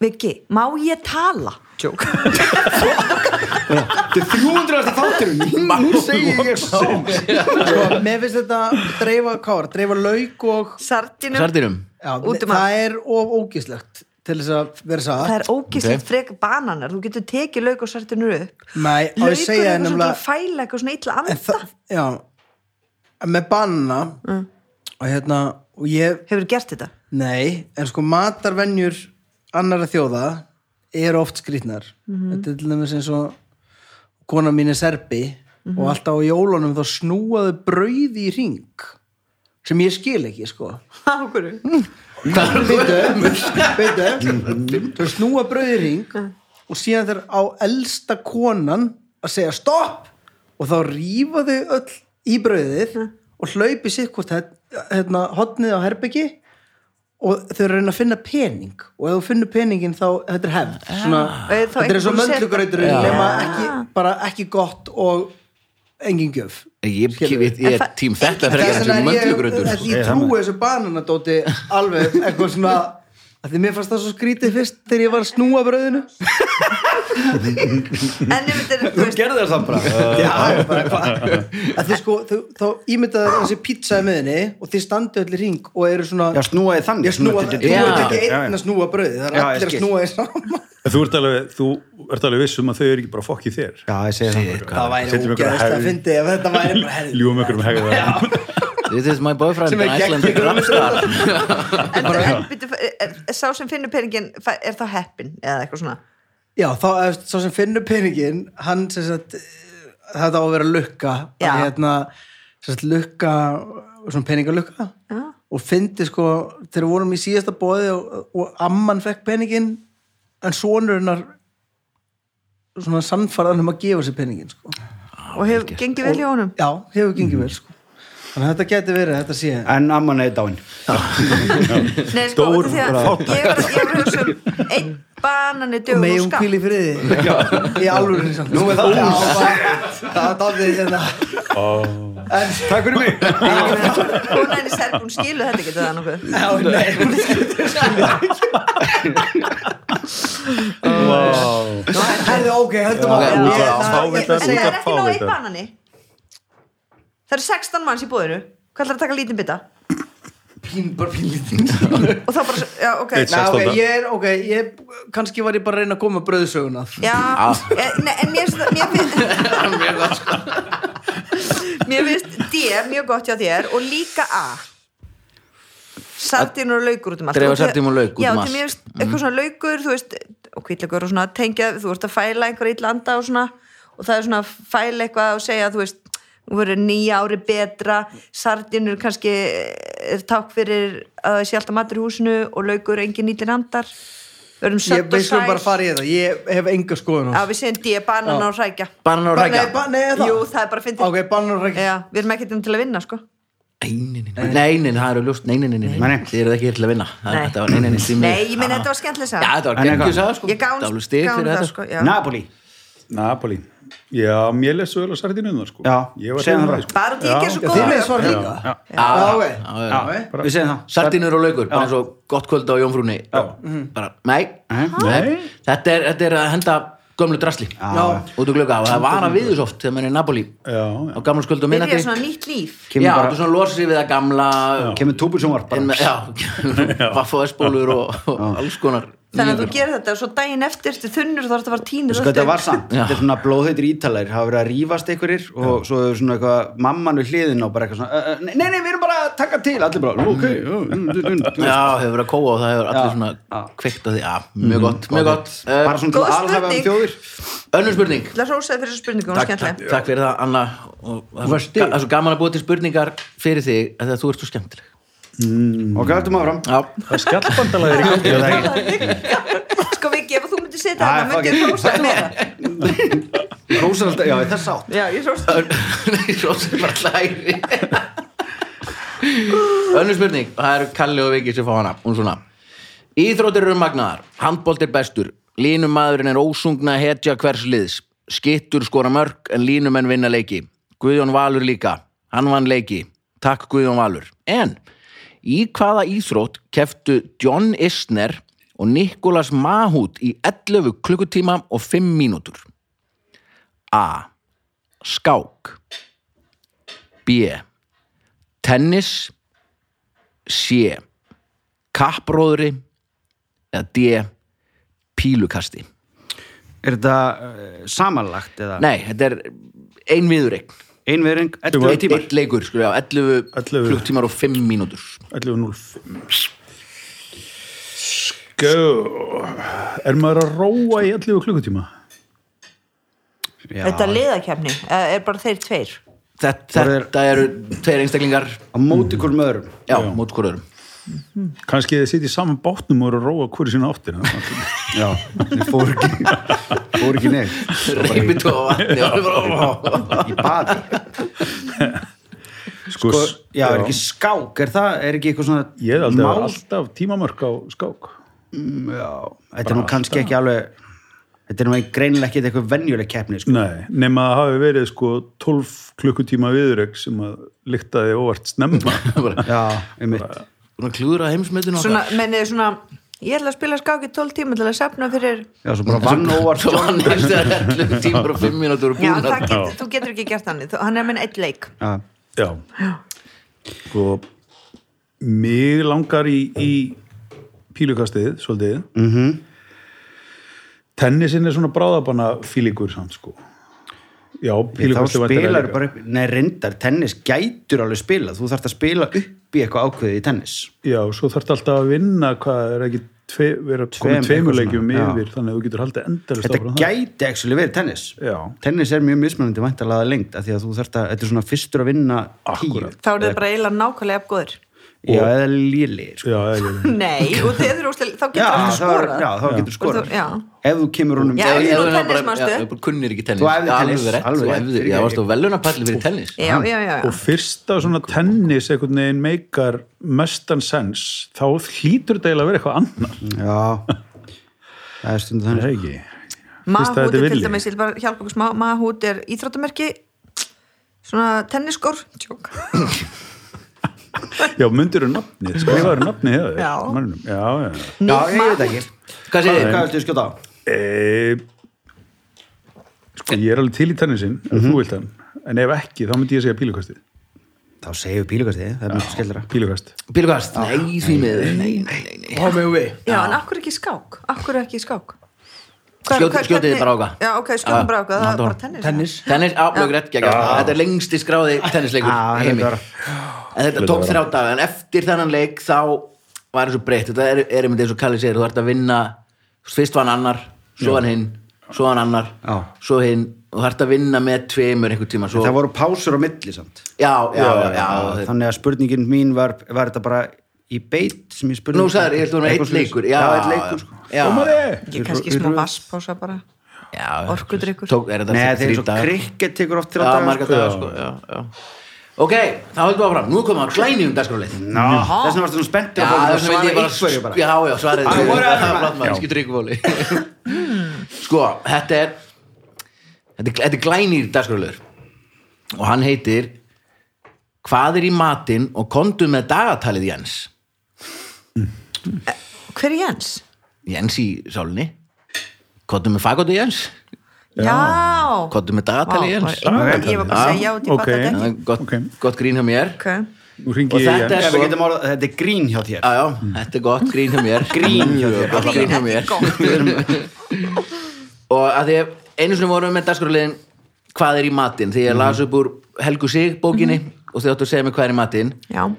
E: Viki, má ég tala? Jók
D: þetta er 300. þátturinn nú segir ég svo
A: sko, mér finnst þetta dreifa kár, dreifa lauk og
E: Sardinum,
B: Sardinum,
A: já,
E: Út um
A: það er of ógislegt til þess að vera
E: Það
A: satt
E: er ógislegt
B: Ok.
E: frek bananar Þú getur tekið lauk og sardinur upp
A: Nei, á ég að
E: Laukur er
A: segja
E: eitthvað svona til
A: nefnilega-
E: að fæla eitthvað svona illa
A: En
E: anda
A: það, já en með banna
E: Mm.
A: og hérna, og ég
E: Hefur gert þetta?
A: nei, en sko matarvenjur annara þjóða eru oft skrýtnar
E: Mhm.
A: þetta er til dæmis eins og kona mín er serbi
E: Mhm.
A: og alltaf á jólunum þá snúaðu brauði í ring sem ég skil ekki sko
E: Ha, [laughs] af hverju?
A: beitu, beitu þau snúa brauði í ring og síðan þeir á elsta konan að segja stopp og þá rýfa þau öll í brauðið og hlaupi sitt hvort hett- hérna, hotnið á herbyggi og þau eru að reyna að finna pening og ef þú finnur peningin þá þetta er hefn svona,
E: Og er þá
A: þetta er
E: einhver
A: svo
E: búinn að setja-
A: möndlugrauturinn
B: Já.
A: nema ekki, bara ekki gott og engin gjöf
B: ég, ég, ég, ég
E: En
B: er
E: það-
B: tím þetta frekar
A: Þess
B: en sem
A: vegna er
B: möndlugröndur.
A: ég, ég trúi þessu bananadóti alveg eitthvað svona að því mér fannst það svo skrítið fyrst þegar ég var að snúa bröðinu
E: En ef þetta er, [laughs] þú
D: þú
E: veist,
D: gerði það samt bara
A: já, bara hvað að því sko, þú, þá ímyndaðu þessi pizza í miðinni og þið standu öll í ring og eru svona
D: já snúaði þannig
A: ég snúa, þú
B: Já.
A: ert ekki
D: Já, já.
A: einn að snúa bröði það er
D: Já, ég
A: allir að
D: skil.
A: snúa því saman
C: En Þú ert alveg, þú ert alveg viss um að þau eru ekki bara fokkið þér.
D: já ég segi það bara.
A: það væri
C: Setjum ykkur að
A: ógeðast að
C: hefð.
A: fyndi ef þetta væri bara herri
C: Ljúum ykkur um hegða það.
B: This is my boyfriend,
A: Sem er
B: an Icelandic
A: gegn-
B: rapstar.
E: en, en byrju, er, er, er, sá sem finnur peningin fæ- er þá heppin eða eitthvað svona
A: já, þá, ef- sá sem finnur peningin hann sem sagt eh, þetta á að vera lukka
E: Já.
A: að hérna, sem sagt lukka svona peningalukka
E: Já.
A: og fyndi sko, þegar við vorum í síðasta bóði og, og amman fekk peningin en sonur hennar svona sannfarðan um að gefa sér peningin sko.
E: og hefur gengið vel hjá honum
A: já, hefur gengið vel sko. þannig að þetta geti verið, þetta sé
D: en amman er dáin
E: Nei, sko,
C: Stór
E: út af því að
C: fátækt.
E: ég var- ég var að hugsa um einn banan er
A: og
E: dögum
A: megum
E: og skam
A: kvíl í friði í alvöru nú er það það er dálítið hérna en
D: takk fyrir mig
E: hún er í serg, hún skilur þetta getur það nokkuð
A: Já, nei, hún er
C: Vá.
A: Herðu, ok, höldum
C: Já,
A: áfram.
C: út
A: Ég-
C: af-
A: það-
E: en
C: fávita-
E: það
C: út
E: er
C: af
E: ekki nóg einn
C: fávita.
E: banani það eru 16 manns í búðinu hvað ætlar að taka lítinn bita
A: Pín, bara pínlítið.
E: og þá bara, já, ok
C: Eitt
A: Nei, ok,
C: Sextánda.
A: ég er, ok, ég, kannski var ég bara að reyna að koma bröðsöguna.
E: Já, en, en mér finnst mér
B: [laughs]
E: finnst
B: sko.
E: mér finnst D mjög gott hjá þér og líka A sardínur og laukur út um allt
B: Dreifa
E: Og því-
B: sardínum og lauk út
E: já,
B: um
E: því
B: allt.
E: mér finnst eitthvað svona laukur þú veist, og kvillugur og svona tengja þú ert að fæla einhver illa anda og svona og það er svona að fæla eitthvað og segja þú veist, þú verður nýja ári betra sardínur kannski eh, er takk fyrir að það sé alltaf matur í húsinu og laukur engin illir andar verðum
A: Ég,
E: sött
A: við
E: og
A: skulum bara
E: sæl
A: fara í þetta, ég hef enga skoðun á
E: Já,
A: þessu.
E: við segjum D, banan
A: Já.
E: og rækja
B: Banan og
A: Bara-
B: rækja.
A: nei, ba- nei, er það?
E: Jú, það er bara fyndið
A: Ok, bann og rækja.
E: Já, við erum ekkert um til að vinna, sko
B: Nei, nei, nei, nei, nei, það eru ljóst Nei, nei, nei, nei, nei,
D: Nei.
B: þið eruð ekki hér til að vinna Það-
E: Nei.
B: Þetta var, nei, nei, nei, tími
E: Nei, ég meina, þetta var skemmtileg
B: Já,
E: saga
B: þetta var
D: En eitthvað.
B: gengjus aða, sko
E: Ég gán,
B: Dálu stig
E: gán
B: fyrir
E: það,
B: þetta, sko
E: sko já.
D: Napoli
C: Napoli. Já, mér lestu vel að sardinu um það, sko.
D: Já,
C: Ég var
D: segðu
C: hrifinn af
D: það
C: því,
D: bara.
C: sko.
E: Bara út í ekki er svo
A: Já,
E: góð
A: þið með svar líka.
C: Já,
A: Já, ok.
B: já,
A: Já, ok.
D: við segjum það
B: Sardinur og laukur, bara eins og gott kvöld á Jónfrúni Bara, nei, nei Þetta er, þetta er að henda gömlu drasli
A: Já.
B: Út úr glögga og það var að við þess oft þegar maður er í Napoli
C: Já,
B: á gamla skuld og minnati
E: Byrja
B: Já,
E: svona nýtt líf
B: þú
D: Kemur bara-
B: svona losir sig við að gamla
D: kemur túbulsumvar
B: en-
D: bara
B: Já, [laughs] vaffaðspólur og og alls konar
E: Þannig að
B: nýjungar.
E: þú gerir þetta og svo daginn eftir Þetta þunnur þá er þetta að fara tínur
D: sko þetta var samt, þetta er svona blóðheitir ítalar hafa verið að rífast einhverjir og svo er svona eitthvað, mamman við hliðin og bara eitthvað svona, "Ö, ö, nei, nei, við erum bara að taka til allir bara, ok, ö, mm, mm, mm, mm."
B: Já, hefur verið að kóa og það hefur allir
D: Já.
B: svona
D: Já. Mhm.
B: kveikt á því, já, mjög gott, mjög gott Eh,
D: bara svona til
E: Góð
D: að alhafa um
E: spurning.
D: þjóðir
B: Önnur spurning
E: Það rósaði fyrir þessu spurningu, hún
B: Takk,
E: var
B: takk,
E: skemmtileg
B: takk fyrir það, Anna og það er svo ga- það er svo gaman að búa til spurningar fyrir þig að þú ert svo skemmtileg
D: ok, hættum áfram
B: Já,
C: það er skjallbandalæðir í gangi. er það ekki?
E: Sko Viki, ef þú myndir setja
D: Já,
E: þetta, myndir
D: fuck
E: ég
D: it.
E: rósaði meira
D: hrósar alltaf, já, þess átt
E: Já, ég rósaði
B: Nei, svo sem bara hlæri Önnur spurning, það eru Kalli og Viki sem fá hana, hún svona Íþróttir eru magnaðar, handbólt er bestur Línumadurinn er ósungna hetja hvers liðs Skittur skora mörg en línumenn vinna leiki Guðjón Valur líka, hann vann leiki Takk Guðjón Valur En, í hvaða íþrótt keftu John Isner og Nikolas Mahut í 11 klukkutíma og 5 mínútur A. Skák B. Tennis C. Kappróðri eða D. Pílukasti
D: Er þetta uh, samanlagt eða?
B: Nei, þetta er ein viðureik
D: Einverjeng, 11
B: Eitt,
D: tímar?
B: eitt leikur, skur já, 11
C: 11.
B: klukktímar og 5 mínútur
C: 11.05 Sko Er maður að róa í 11 klukkutíma?
D: Já.
E: Þetta er liðakefni, eða er bara þeir tveir
B: Þetta,
D: Það er-
B: þetta eru tveir einstaklingar
D: Á móti hverjum öðrum.
B: Já, mót hvort öðrum
C: Kanski þið sitja í saman bátnum og eru að róa hverju sinna áttir
D: Já, það fór ekki, fór ekki neitt.
B: Reipið og vatni og alveg bara-
D: Í baði.
C: Sko,
D: Já, er ekki skák, er það, er ekki eitthvað svona...
C: Ég hef aldrei
D: mál?
C: Mál... alltaf tímamörk á skák
D: Já, þetta er nú kannski ekki alveg... Þetta er nú greinilega ekki eitthvað venjuleg keppni, sko.
C: Nei, nema að hafi verið sko 12 klukkutíma viðureg sem að lyktaði óvart snemma [laughs]
B: bara
D: Já, einmitt.
B: Svona klúðra heimsmyndin
E: Svona, mennið svona Ég ætla að spila skák í 12 tíma til að safna fyrir
D: Já, svo bara vann óvart.
B: Svo hann er þetta 11 tímar og 5 mínútur og
E: Já,
B: búin
E: það
B: að
E: getur, þú getur ekki gert hann Hann er minn eitt leik
D: Já,
C: Já Sko Mig langar í, í pílukastið, svolítið mm
D: Mhm.
C: -hmm. Tennisin er svona bráðabanna fílíkur samt sko Já,
D: þá
C: pílukastið
D: spilar bara upp... Nei, reyndar, tennis gætur alveg spila. Þú þarft að spila upp í eitthvað ákveðið í tennis.
C: Já, svo þarftu alltaf að vinna hvað er ekki tve, vera
D: Tveim,
C: komið tveimur
D: eitthvað
C: leikjum
D: svona, já.
C: yfir þannig að þú getur haldið endalist
D: Þetta gæti actually verið tennis.
C: Já.
D: Tennis er mjög mismunandi væntalega lengt af því að þú þarft að, þetta er svona fyrstur að vinna
C: Akkúrat.
E: Þá er þið bara eiginlega nákvæmlega efgóðir
D: Já, eða lélir, sko.
C: Já, eiginlega
E: [laughs] Nei, og þeir eru úslega Þá
D: Já,
E: getur allir
D: þá er- já,
E: skorað
D: þá getur skorað.
E: þú- já.
D: Ef þú kemur honum
E: Já,
D: vel-
B: Ég
E: ef- Nú,
B: var
E: tennis,
B: bara,
E: manstu?
B: já, bara kunnir ekki tennis
D: Þú æfðir
B: Alveg
D: tennis,
B: rétt,
D: alveg
B: þú
D: rétt,
B: æfðir,
D: fyrir
B: já,
D: ekki.
B: varst á velunapalli fyrir tennis
E: Já, já, já, já.
C: og fyrsta svona tennis einhvern veginn meikar mestan sens þá hlýtur þetta eiginlega að vera eitthvað annar
D: Já Það er stundu þannig
C: ekki Fyrst að þetta
E: Mahút er
C: er
E: til
C: villi.
E: dæmis, ég vil bara hjálpa okkur smá Mahút er íþróttamerki Svona tenniskor Tjók.
C: já, myndir eru nafnið, skrifaður nafnið hefur
E: Já.
C: mannum, já, já, já.
D: Já, ég veit ekki
B: Hvað
D: Hvað
B: segir þið?
D: viltu skjóta á?
C: E, sko, ég er alveg til í tennisin ef þú vilt hann, en ef ekki þá myndi ég segja pílukastið,
D: Þá segjum við bílugastið, það er mjög skellra
C: pílukast
B: Pílugast? Nei, því miður Nei, nei, nei, nei.
A: Há mig og við
E: Já, en akkur ekki skák Akkur ekki skák
B: Skjóti- skjótið þið bara á hvað?
E: Já, ok, skjótið
B: Já,
E: bara á hvað, það
B: halda
E: er bara
B: áfram.
E: tennis
A: Tennis
B: Tennis, áblögg rétt gegn Þetta er lengsti skráði tennisleikur
D: Já,
B: í heimi
D: þetta var-
B: En þetta tók þrjá daga En eftir þennan leik þá var eins og breytt Þetta er, er einmitt eins og Kalli segir Þú ert að vinna Fyrst var hann annar Svo hann hinn Svo hann annar
D: Já.
B: Svo hinn Þú ert að vinna með tveimur einhvern tíma svo,
D: Það voru pásur á milli samt
B: Já, já, já, já, já
D: Þannig að spurningin mín var Var þetta bara í beit sem ég spurði
B: Nú sagður, ég held að hún er
D: Eitthvað
B: eitt leikur
D: svoleiðis.
B: Já,
D: Já, eitt leikur sko.
B: Já,
C: komaði,
E: Ég kannski smá vasspása bara
B: já
E: Orkudrykkur.
B: Tók, er þetta
D: Nei,
B: þrjá
D: þeir eru svo
B: dagar?
D: krikket tekur oft til
B: Já,
D: að
B: marga dagar sko, já, já Ok, þá höldum við áfram, nú komum við að klæni um dagskrálið
D: Ná, þess vegna varstu svona spennt
B: Já,
D: að
B: þess vegna vildi ég
D: svara
B: bara
D: einhverju bara
B: Já, já, svarið
D: Ah,
B: Það
D: whatever.
B: er flott maður, skiptir ykkur vóli Sko, þetta er Þetta er, þetta er glænýr dagskrálið Og hann heitir Hvað er í matinn og komdu með dagatalið Jens
E: Hver er Jens?
B: Jens í sálinni Komdu með fagotu Jens
E: Já
B: Komdu með dagatalið
E: Vá,
B: Jens
E: var einmitt- Ég var bara að segja já, ég
C: Ok.
E: fatt þetta
B: Það
E: ekki
B: er Gott,
C: Ok.
B: gott grín hjá mér
E: Ok,
C: nú ringi
B: Og
C: ég
B: þetta
C: Jens.
B: er-
D: Ef við getum orðað, þetta er grín hjá
B: Já,
D: þér
B: já, þetta er gott grín hjá mér
D: Mm. Grín hjá þér.
B: Gott grín hjá mér
E: Gott.
B: og að því að einu sinni vorum við með dagskráliðin hvað er í matinn
D: Mhm.
B: því ég las upp úr Helgu Sig bókinni og þið áttu að segja mér hvað er í matinn
E: Já,
B: og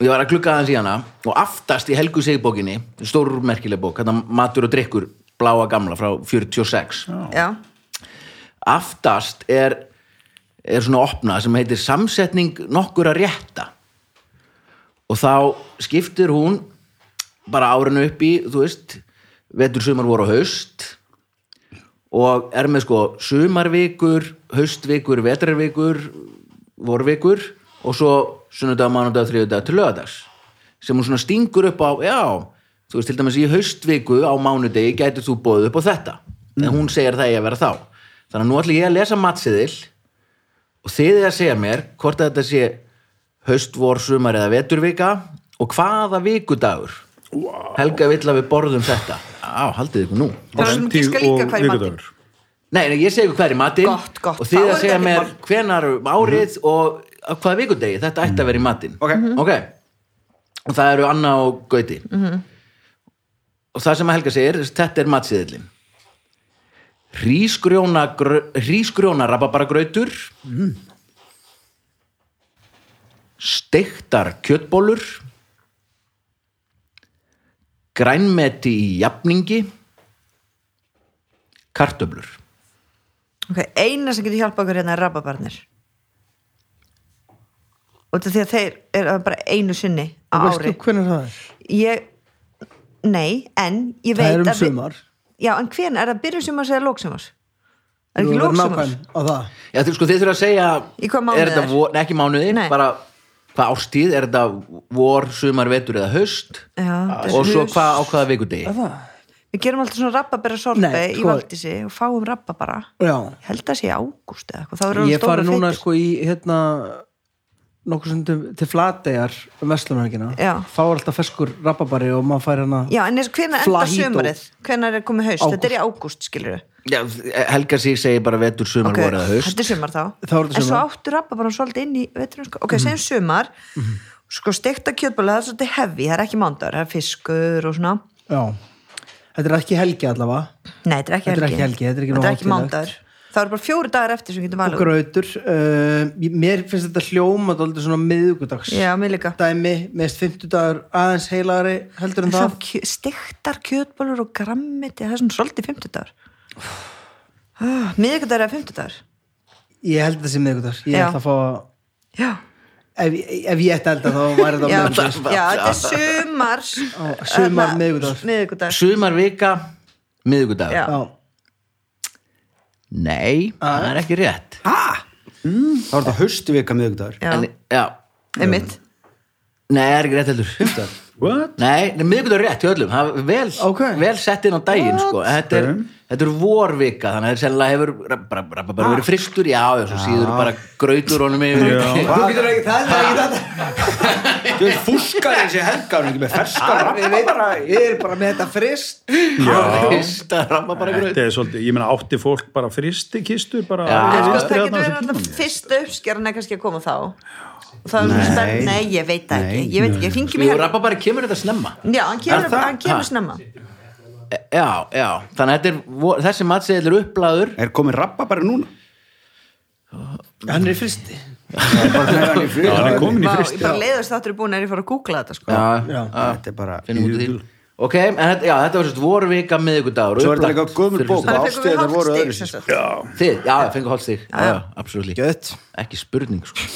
B: ég var að klukka aðeins í hana og aftast í Helgu Sig bókinni stórmerkileg bók, hérna matur og drikkur bláa gamla frá 46
E: já
B: aftast er er svona opna sem heitir samsetning nokkur að rétta og þá skiptir hún bara árinu upp í þú veist, vetur sumar voru og haust og er með sko sumarvikur, haustvikur vetrarvikur, vorvikur og svo sunnudag, mánudag, þriðudag til lögadags sem hún svona stingur upp á já, þú veist til dæmis í haustviku á mánudegi gætir þú bóðið upp á þetta en hún segir það ég að vera þá þannig að nú ætla ég að lesa matsiðil og þið er að segja mér hvort að þetta sé haust, vor, sumar eða veturvika og hvaða vikudagur wow. Helga vill að við borðum þetta á, haldið ykkur nú
E: Það er svona gíska líka hvað er í matinn.
B: Nei, nei, ég segi ykkur hver í matinn
E: Gott, gott.
B: og þið
E: Þá
B: að
E: er
B: segja
E: þetta
B: mér
E: ekkert
B: hvenar árið og á hvaða vikudegi þetta ætti að vera í matinn
D: Ok. Mhm.
B: ok og það eru Anna og Gauti -hmm.
E: Mhm.
B: og það sem að Helga segir þetta er matsiðillin hrísgrjóna hrísgrjóna rababaragrautur mm.
D: Mhm.
B: steiktar kjötbólur grænmeti í jafningi kartöblur
E: Ok, eina sem getur hjálpa okkur hérna er rababarnir og þetta því að þeir eru bara einu sinni á
A: Og
E: ári
A: veistu hvernig það er?
E: ég, nei, en ég veit
A: Það er um
E: að við-
A: sumar
E: já, en hven, er það byrjum sumars eða lóksumars? er
A: Þú
E: ekki
A: verður
E: lóksumars?
A: nákvæm á það.
B: Já, þið, sko, þið þurfa að segja
E: Í hvaða mánuði
B: er þetta
E: er?
B: vor, nei, ekki mánuði,
E: Nei.
B: bara hvað ástíð, er þetta vor, sumar, vetur eða haust
E: Já, þetta
B: Ah, og
E: er
B: svo
E: haust.
B: hvað á hvaða vikudegi
A: Er það?
E: við gerum alltaf svona rababera sorpi
A: Nei,
E: í
A: sko-
E: Valdísi og fáum rababara
A: Já.
E: ég held að sé í ágúst eða eitthvað, þá eru hann
A: Ég
E: stóra
A: fari núna
E: feitir
A: sko í hérna nokkuð sundum til flategar um vestlunarkina
E: Já.
A: þá er alltaf feskur rababari og maður fær hana
E: já, en hvenar enda
A: Flahito.
E: sumarið? hvenar er komið haust?
A: Ágúst.
E: þetta er í ágúst, skilur við
B: Já, Helga sig segir bara vetur, sumar, vor eða haust
E: þetta er sumar þá
A: Þá er þetta
E: en svo
A: sumar. Mhm.
E: áttu rappa bara svolítið inn í veturinn, sko. ok, segjum sumar sko stekta kjötbóla, það er svolítið hefi það er ekki mándar, það er fiskur og svona
A: Já. Þetta er ekki helgi allavega
E: nei, þetta er ekki
A: Þetta er
E: helgi,
A: ekki helgi, þetta er ekki nóg hátíðlegt.
E: mándar það eru bara fjóri dagar eftir sem við getum
A: og
E: valið úr.
A: grautur uh, mér finnst þetta hljóma dálítið svona miðugudags
E: já, mér líka
A: dæmi, mest fimmtudagur aðeins heilagri heldur en það
E: kjö, stektar kjötbólur og grammiti það er svona svolítið fimmtudagar ah, miðvikudagur eða fimmtudagur
A: ég held þessi miðugudags ég
E: Já.
A: ætla að fá að
E: já,
A: ef, ef ég ætti að elda þá væri það á
E: já, já,
A: miðugudags
E: þetta er sumars
A: sumar
E: þarna,
A: miðvikudagur.
E: miðvikudagur.
B: Sumar, vika, miðvikudagur
E: Já.
A: Já.
B: Nei, það er ekki rétt
D: þá er þetta haustvika miðugdagar
E: Já,
B: en, Já,
E: einmitt
B: nei, það er ekki rétt heldur
C: What?
B: Nei, nei miðvikudagur er rétt hjá öllum það er vel,
A: Ok.
B: vel sett inn á daginn sko. þetta, er, þetta er vorvika þannig að þetta sennilega hefur bara, bara, bara
E: Ah.
B: verið fristur, já, já, svo síður bara grautur honum yfir
A: þú getur ekki það, það er ekki þetta
D: þú veist fúskar þessi helga hún er ekki með ferska
A: Ég veit bara, ég er bara með þetta frist
B: [laughs] Fyrsta rababaragraut.
C: Þetta er svolítið, ég meina átti fólk bara fristikistur bara
B: Já.
C: alveg
E: Nei, sko,
C: vinstri
E: það
C: þarna á
E: getur verið
C: þessum
E: alltaf
C: tíma.
E: fyrst uppskeran eða kannski að koma þá og það er svona stærn, nei, ég veit það ekki ég veit ekki, ég hringi
B: Jú,
E: mig hér
B: rababari kemur þetta snemma
E: já, hann kemur,
B: Er það?
E: hann kemur
B: Ha.
E: snemma
B: E- Já, já, þannig að þetta er, vo- þessi matseðil er upplaður
D: Ah. er komið rappa bara núna
A: Hann er í fristi
C: Já, hann er
D: þetta
C: komin í
E: Vá,
C: frist
E: ég bara leiðast þáttur er búin er ég fór að googla þetta sko.
B: Já,
D: er bara
B: finnum út úr því Ok, en þetta, já, þetta var sérst vorvika miðvikudagur
D: svo er þetta líka gömul bók
E: Þannig
D: og
E: fengum við
D: ástíðar
E: hálft
D: voru
E: stig,
D: öðru
E: sem sagt.
B: Þið, já, fengu hálft stig, já, já, absolutt
A: Gött
B: Ekki spurning, sko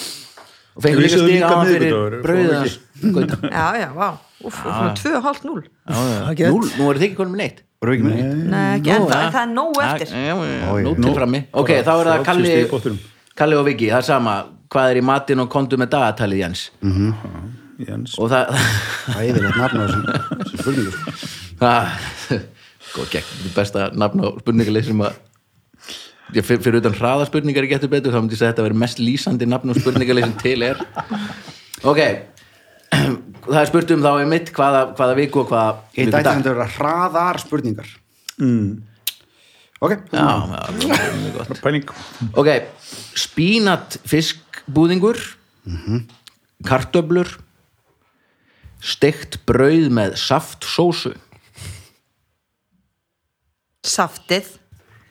B: Og fengu
C: Ég
B: líka
C: vissi það
B: stig á
C: líka
B: hann fyrir
C: miðvikudagur, fórum
B: brauðið hans Gauta.
E: já, já, vá, úf, og svona 2,5-0
B: Já, já,
A: gett.
B: Núll, nú eru þið ekki konum neitt
D: voru ekki með neitt
E: nei, ekki
B: Nú,
E: ennþá,
B: já.
E: en það er nóg
B: Já,
E: eftir
B: já, já,
D: Ó, já.
B: Nú til frammi Ok, þá er það
C: 30
B: Kalli
C: stig í pottinum.
B: Kalli og Viki, það er sama Hvað er í matinn og kondu með dagatalið, Jens
D: Mm.
C: Jens.
B: Og það, [laughs]
D: æðilegt nafn á [laughs] þessum þessum spurningu sko.
B: Ah, Góð gegn, þetta er besta nafn á spurningalið sem að ég fyr- fyrir utan hraðaspurningar ég getur betur þá myndi ég segja að þetta verið mest lýsandi nafn á spurningalið sem til er Ok [clears throat] Það er spurt um þá í mitt hvaða, hvaða viku og hvaða
D: ég dætti
B: vikudag.
D: þetta að vera hraðar spurningar Mm. ok
B: Já, já, það er mjög gott.
C: Pæling.
B: Ok, spínat fiskbúðingur kartöflur steikt brauð með saftsósu
E: saftið,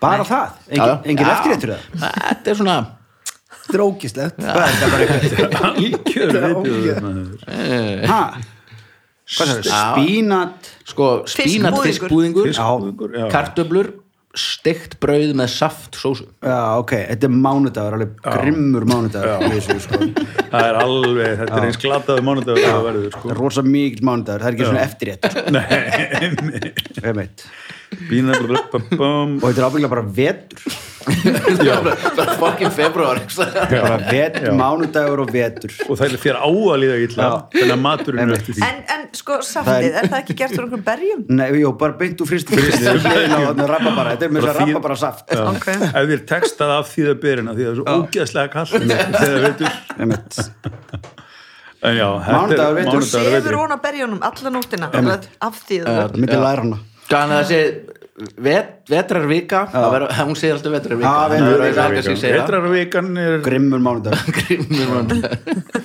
D: bara það,
B: Já, já.
D: engin, engin
B: Já.
D: eftirréttur það
B: Þetta er svona
A: Þetta er ógislegt
D: [laughs]
C: Algjör viðbjóður, maður.
D: ha hvað sagði, spínat
B: sko, spínat
E: Fiskbúðingur.
B: fiskbúðingur
C: Fiskbúðingur, já.
B: kartöflur, steikt brauð með saft
D: [laughs]
B: sósu
D: já ok, þetta er mánudagur, alveg grimmur mánudagur í þessu, sko.
C: Það er alveg, þetta er eins glataðu mánudagur að það verður
D: það
C: sko
D: er rosa mikil mánudagur, það er ekki svona eftirrétt sko.
C: Nei,
D: Einmitt.
C: bína, bla, bla, bla, bam.
D: og þetta er ábygglega bara vetur
B: Það er fokkin februar
D: bara vet, mánudagur og vetur
C: og það er þér á að líða illa þannig að maturinn er
D: Einmitt.
C: eftir því
E: en, en sko, saftið, er það ekki gert úr einhverjum berjum?
D: Nei, jú, bara beint úr fyrstu hérna Rababara, þetta er með þess
C: Bara
D: að
C: þýð-
D: rababara saft
C: Já.
E: Ok.
C: ef þér textað af því það byrjina því það er svo ógeðslega kallt þegar veitur
D: Einmitt.
C: en já,
D: Mánudagur, veitur.
E: Þú
D: Mánudagur,
E: sefur hún á berjunum alla nóttina alla- af því þú
D: Það myndi læra hana
B: Þannig að það sé vet, vetrarvika það verður- hún segir alltaf vetrarvika
D: Já,
B: Það verður
D: vetrarvika.
B: eitthvað sem segir það.
C: vetrarvikan er
D: Grimmur mánudagur
B: Grimmur mánudagur.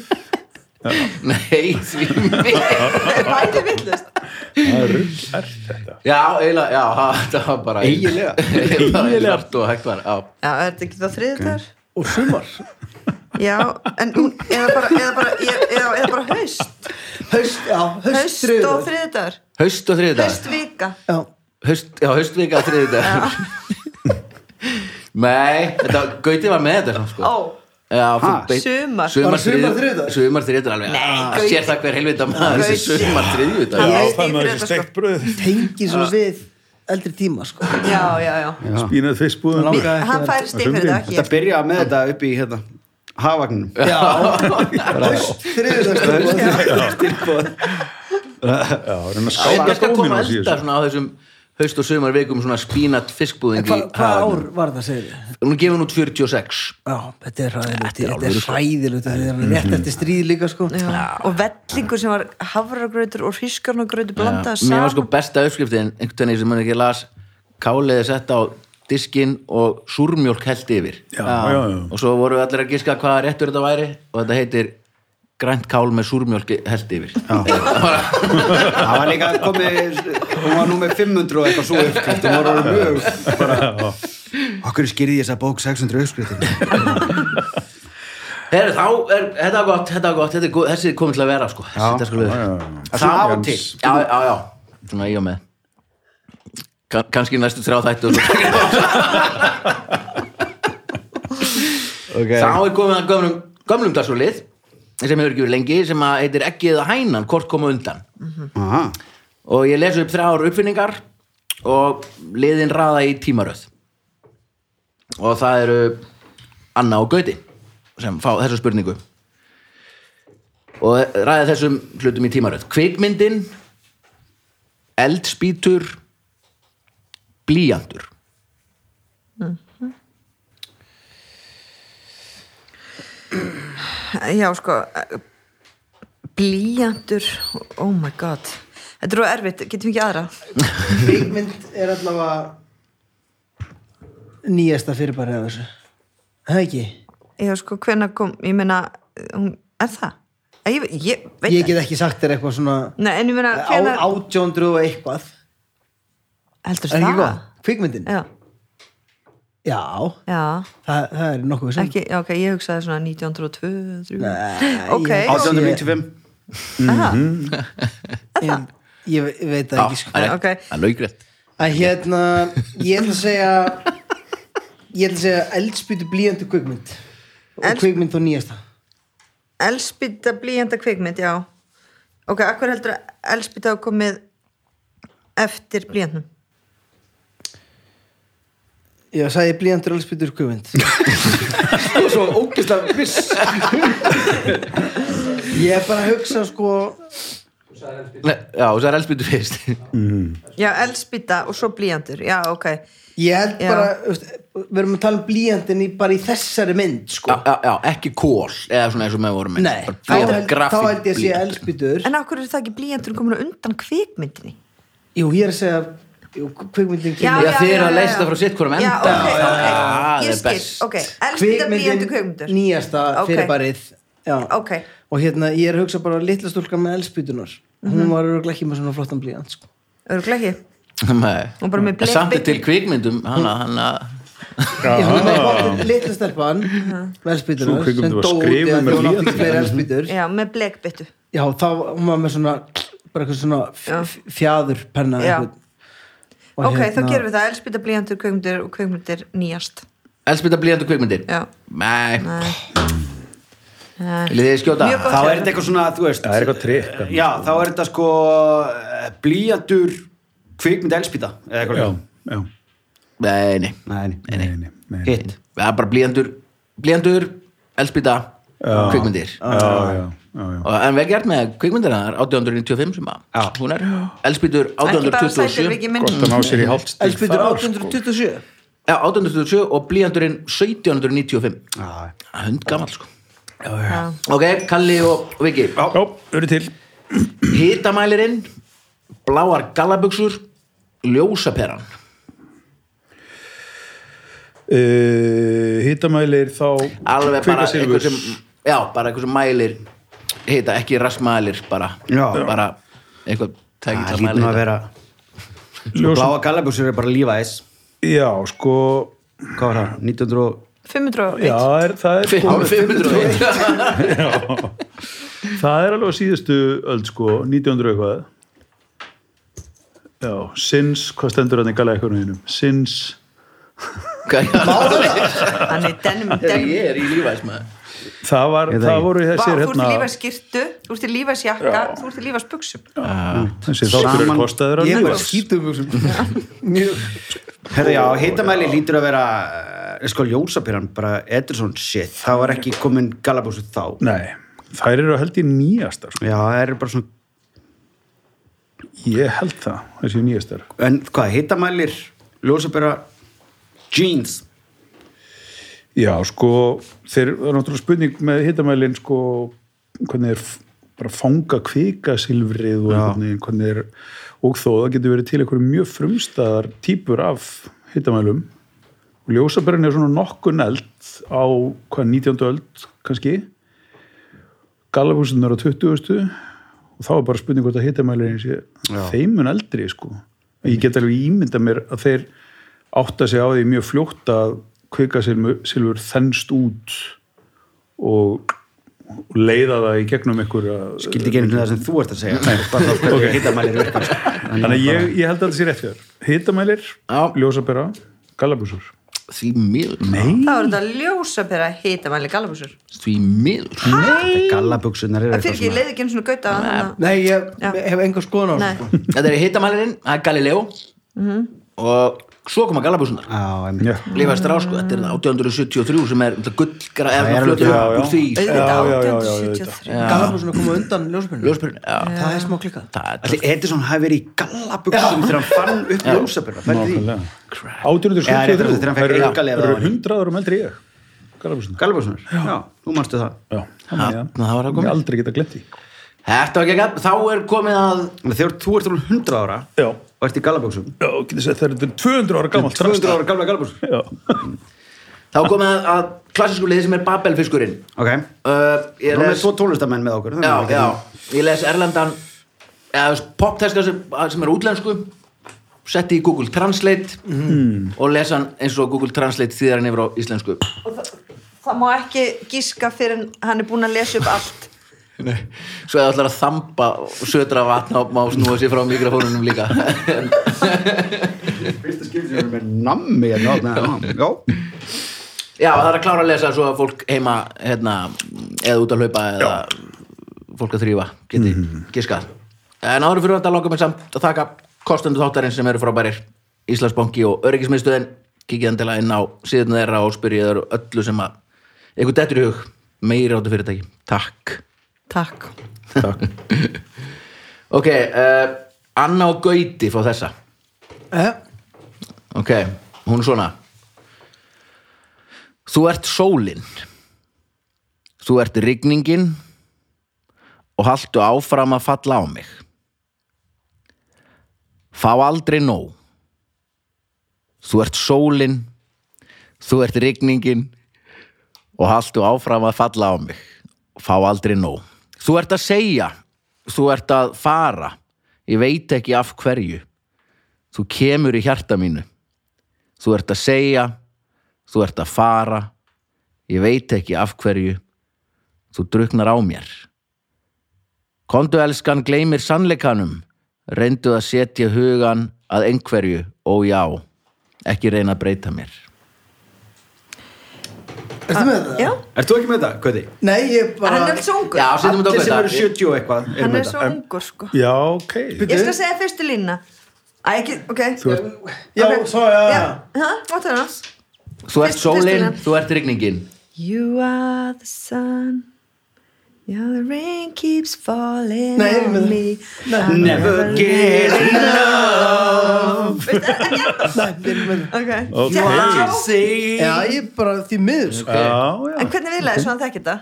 B: Nei, því miður.
E: [laughs] Það er bæði villust
C: er þetta
B: Já, eiginlega, já, ha, það var bara [laughs]
D: Eiginlega.
B: Eiginlega Svart og hægt var, já
E: Já, er þetta ekki þá þriðudagur?
A: og sumar
E: Já, en hún, eða bara, eða bara, eða, eða, eða bara haust
A: haust, já, haust,
E: Haust og
A: þriðjudagur.
E: þriðudagur
B: Haust og þriðdagar
E: Haustvika
A: já,
B: Haust, já, haustvika og þriðdagar [laughs] Nei, þetta, Gauti var með þetta samt, sko
E: Ó,
B: Já, þú
D: Ha,
B: beit-
E: sumar.
A: Bara
B: Sumar
A: sumar
B: þriðdagar
A: þriðjudagar?
B: Sumar þriðdagar alveg
E: Nei,
B: Ah,
E: Gauti.
B: Sér það hver helvita maður þessi
E: Gauti.
B: sumar
E: Hann
B: þriðdagar
E: er
C: Já,
E: Ég-
C: það með
E: ég-
C: þessi steikt bröð
A: tengi svo við eldri tíma sko
E: já, já, já
C: spínað fiskbúðum
A: Langar-
E: Mér- Hann fær stig fyrir þetta
D: Þetta
E: ekki
D: byrjaði með þetta upp í hérna Havagnum
A: já, sko. haust, þriðudagstilbúð
D: Tilbúð
C: já,
B: Það
C: reyna að
B: er
C: skáta
B: kannski að koma
C: skóminum
B: elda svona á þessum haust og sumar vikum svona spínat fiskbúðing
A: hvað
B: í
A: hva
B: hafanum.
A: ár var það segir þið?
B: Hún er gefin út 46
A: já, þetta er Mm-hmm. hræðilegt þetta er hræðilegt, þetta er rétt eftir stríð líka sko
E: Já. Og vellingur sem var havragrautur og hrískarnagrautur blandaði
B: Mér var
E: saman
B: sko besta uppskriftin einhvern veginn sem hann ekki las káliði sett á diskinn og súrmjólk held yfir
C: Já, já, já.
B: og svo voru allir að giska hvaða réttur þetta væri og þetta heitir grænt kál með súrmjólk held yfir [laughs]
D: Það var líka komið Hún var nú með 500 og eitthvað svo uppskrift Hún var orðið mjög bara Okkur skýrði ég þess að bók 600 uppskrift
B: Heru, þá er, þetta er gott, þetta er gott þetta er góð, þessi er komin til að vera sko þessi,
D: Já,
B: þetta skulle vera.
D: Svona af og til
B: já, já, já, svona ég og með Ka- kannski næstu þrjá þættu og svo
D: okay.
B: Þá er komið að gömlum, gömlum dagsfjólið sem hefur ekki verið lengi sem að heitir ekki eða hænan, hvort koma undan
D: Aha.
B: og ég les upp þrjár uppfinningar og liðin raða í tímaröð og það eru Anna og Gauti sem fá þessa spurningu og ræða þessum hlutum í tímaröð kvikmyndin eldspýtur blíjandur
E: Já, sko Blíjandur Oh my god Þetta er þú erfitt, getum við ekki aðra
A: Kvikmynd er allavega nýjasta fyrirbæri af þessu. Það ekki?
E: Já, sko, hvenær kom, ég meina hún, Er það? Ég, ég veit
A: Ég get ekki sagt þér eitthvað svona
E: Nei, en ég meina,
A: á
E: hvenær
A: 800 og eitthvað.
E: Heldur
A: Er ekki
E: það?
A: góð? Kvikmyndin?
E: Já,
A: Já,
E: já,
A: það, það er nokkuð sem.
E: ekki, já, ok, ég hugsaði svona 1902, 3
A: Nei,
E: Ok,
A: ég-
E: ok,
D: 1895
B: Mhm.
A: En Ég ve- veit það ekki sko.
B: það
E: ok.
B: er laugrætt
A: Að hérna, ég ætla að segja, ég ætla að segja eldspýtu blíjandi kvikmynd. Og
E: Elds-
A: kvikmynd og nýjasta.
E: Elspýta blíjanda kvikmynd, já Ok, akkur heldur að Elspýta hafa komið eftir blíjandum
A: Já, sagði ég blíjandur og eldspýtur kvikmynd.
D: Þú er svo ógeðslega viss
A: Ég er bara að hugsa sko,
B: já, og það er eldspýtur fyrst
E: Já, Elspýta og svo blíjandur, já, ok
A: ég held
E: Já.
A: bara, þú veist, við erum að tala um blíjandin í, bara í þessari mynd sko.
B: já, já, já, ekki kól eða svona eins og með vorum
A: Nei, þá held, þá held ég að sé eldspýtur
E: En akkur er það ekki blíjandur komin á undan kvikmyndinni
A: Jú, ég er að segja jú, kvikmyndin
B: Já,
A: kemur
B: þið eru að leysa það frá sitt hvorum
E: Já,
B: enda.
E: ok,
B: Já,
E: ok,
B: já, já, það
E: ég
B: er
E: skil
B: best.
E: Ok, Elspýta blíjandur kvikmyndur
A: nýjasta
E: Ok.
A: fyrirbærið já.
E: Ok.
A: og hérna, ég er að hugsa bara litla stúlka með eldspýtunar
E: Mhm.
A: hún var örgulega ekki með svona flottan blíjand sko.
E: Örgulega ekki
B: Nei.
E: Og bara með Mm.
B: En Samt er
E: blekbyttu.
B: til kvikmyndum hana, hana,
A: Ég, hún er
C: Já,
A: flottan- litla stelpan
E: Uh-huh.
A: með
C: Sú
A: eldspýtunar
C: kvikmynd
A: sem
C: var
A: dói
C: skrifuð
A: þegar
C: með
A: hún átti
C: blýanti.
A: fleiri eldspýtur
E: Já, með blekbyttu
A: já, þá hún var með svona bara eitthvað svona
E: Já.
A: f- fjaður penna
E: Já.
A: einhvern. Og
E: Ok, þá
A: hérna-
E: gerum við það, Elspýta blíjandur kvikmyndur og kvikmyndir nýjast
B: Elspita blíðandi kvikmyndir
E: Já.
B: Nei,
E: Nei. Nei.
B: viljið þið skjóta
E: Mjög gott.
D: Þá er þetta eitthvað svona, þú veist Eh,
C: það er eitthvað trikk
D: Já, þá er þetta sko eh, blýjantur kvikmynd elspýta eða eitthvað
C: já,
D: líka.
C: já
B: nei, nei,
D: Nei, nei.
C: nei, nei, nei.
D: Hitt.
B: það er bara blíjandur blíjandur, eldspýta kvikmyndir
C: Já, já, já, já.
B: og, en vel gert með kvikmyndirna 1895 sem að
D: Já.
B: hún er eldspýtur
E: ekki bara sætir
B: 1827
E: við ekki
C: Gott að
E: minn
C: ná sér í hálfstík
A: Elspytur
C: þar,
A: 1827
B: Já, 1827 og blíjandurinn 1795
D: Já,
B: hund gammal sko ok, Kalli og Viki
C: sko. Já, eru til
B: hitamælirinn bláar gallabuxur ljósaperan
C: uh, Hittamælir þá
B: alveg bara
C: Kvikasilfurs.
B: eitthvað sem já, bara eitthvað sem mælir hita, ekki rassmælir bara,
D: Já.
B: bara eitthvað tæki
D: það
B: til að
D: lítur nú
B: mæla
D: að
B: hita.
D: vera Sko,
C: Ljós-
D: Bláa gallabuxur er bara lífæs
C: Já, sko
D: Hvað var það? 1900 og-
E: 501
C: Já, það er, það er
B: Fimm- 500
D: [laughs]
C: Það er alveg á síðustu öld sko, 1900 eitthvað Já, since hvað stendur hann í gala eitthvað húnum? Since
B: Hvað-
E: hann er denim, denim
B: ég er í lífæs maður
C: það, var,
D: Ég veit
C: það
D: ekki.
C: voru
E: Vá,
C: þessir
E: þú ert í
C: hérna
E: lífæs skirtu, þú ert í lífæs jakka þú ert í lífæs buksum
C: þessir þáttur eru kostaður að
D: Ég er bara
C: nefnast.
D: skítubuxum Herra já, hitamæli lítur að vera eh, sko ljósapyrann, bara Edison shit, það var ekki komin gallabuxur þá
C: Nei, þær eru held ég nýjastar sko.
D: Já, það eru bara svona
C: Ég held það, þessi nýjastar
D: en hvað, hitamælir, ljósapyra jeans
C: Já, sko, þeir það er náttúrulega spurning með hittamælin sko, hvernig er bara fanga kvikasilfrið og hvernig, hvernig er og þó, það getur verið til einhverju mjög frumstæðar típur af hittamælum og ljósaberinn er svona nokkun eld á hvað 19. öld kannski galabúsin er á 20. og þá er bara spurning hvort að hittamælirinn sé þeimun eldri sko ég get alveg ímynda mér að þeir átta sig á því mjög fljótt að kvikasilfur þennst út og, og leiða það í gegnum einhver uh,
D: skildi ekki einu sinni það sem þú ert að segja bara þá hvernig hitamælir virkar
C: þannig að ég, ég held að þetta sé rétt fyrir hittamælir,
B: Já.
C: ljósabera, galabúsur
B: því miður
C: Nei.
E: þá er þetta ljósapera hitamæli galabúsur
B: því miður
D: gallabuxurnar eru
E: það
D: eitthvað
E: fyrir ekki, ég
D: svona
E: leiði ekki einu svona gauta að hann
A: Nei, ég
E: Já.
A: hef enga skoðan á
E: Nei.
A: þessu, sko.
B: þetta er hitamælirinn, það er Galileo og svo koma gallabúsunar
D: Já, einmitt.
C: Já.
B: Lífast rá, sko, þetta er 1873 sem er gullgra
D: Það er
B: eða
D: alveg-
B: fljótur
C: já, já.
B: úr því sko.
C: Já, já, já, já,
E: auðvitað
C: auðvitað.
E: 1873
A: sko Galabúsin að koma undan ljósbyrnu
B: ljósbyrjun, já,
A: Það er smá klikkað
B: það er
D: Ætli Edison hafi verið í gallabuxum þegar hann fann upp ljósabyrra
C: Nákvæmlega.
D: Já, rétt,
C: 1873
D: rétt, þegar hann fekk
C: þær eru-
D: aukalið á
C: þær eru
D: henni.
C: hundraður um eldri ég galabúsur
D: Gallabuxunar, já, þú manstu það
C: Já, þannig að
B: það var að koma.
C: ég aldrei geta glemt því
B: Þetta var ekki að, þá er komið að
D: Þannig að þegar þú ert alveg 100 ára
C: Já,
D: og ert í gallabuxum
C: já getið sett það er 200 ára gamalt
D: 200 ára gamla gallabuxum
C: Já, [laughs]
B: þá er komið að, að klassísku liði sem er Babelfiskurinn
D: Ok,
B: uh,
D: nú
B: ég
D: erum við
B: les
D: tvo tónlistamenn með okkur
B: já, já, ég les Erlendan eða þú veist, popteska sem, að- sem er útlensku setti í Google Translate og les hann eins og Google Translate þýðar hann yfir á íslensku
E: það má ekki gíska fyrir hann er búin að lesa upp allt
B: svo eða ætlar að þamba og södra vatn á má snúa sér frá mikrofónunum líka
D: Fyrsta skipti sem við erum með nammi hérna, já, já, já.
C: [laughs]
B: já, það er að klára að lesa svo að fólk heima hérna, eða út að hlaupa eða fólk að þrýfa geti giskað en áður fyrir þetta langar mér samt að þakka kostendu þáttarinn sem eru frábærir Íslandsbanki og öryggismiðstöðin kikið endilega inn á síðan þeirra og spyrja þeirra öllu sem að eitthvað dettur í hug meiri áttu fyrirtæki, takk
E: takk
B: ok, uh, Anna og Gauti fá þessa
A: Eh,
B: Ok, hún er svona Þú ert sólin Þú ert rigningin og haltu áfram að falla á mig Fá aldrei nóg Þú ert sólin Þú ert rigningin og haltu áfram að falla á mig Fá aldrei nóg Þú ert að segja Þú ert að fara Ég veit ekki af hverju Þú kemur í hjarta mínu. Þú ert að segja, þú ert að fara, ég veit ekki af hverju, þú druknar á mér. Kondu elskan gleymir sannleikanum, reyndu að setja hugan að einhverju, ó já, ekki reyna að breyta mér.
A: Ertu með það?
E: já,
D: Ert þú ekki með þetta, Kauði?
A: Nei, ég bara
E: hann er svo ungur
B: Já, setjum þetta
D: Allir sem
B: okkur
D: eru 70 og eitthvað eru með
E: hann er
D: þetta
E: svo ungur sko
C: já ok
E: ég skal segja fyrstu lína Æ, ekki, ok
C: Þú ert-
A: Já,
E: Ok.
A: svo, já.
E: Já, hæ, mátt hérna
B: Þú ert
E: Fyrst-
B: sólinn,
E: fyrst til
B: þú ert rigningin
E: You are the sun Yeah, the rain keeps falling
A: Nei, erum við
E: on
A: það?
E: me
D: Never get
A: Nei, byrjum með það.
E: Ok,
C: Ok.
E: Wow.
A: Já, ég er bara því miður, sko.
C: Já, já.
E: En hvernig viðlaði svo hann þekkir þetta?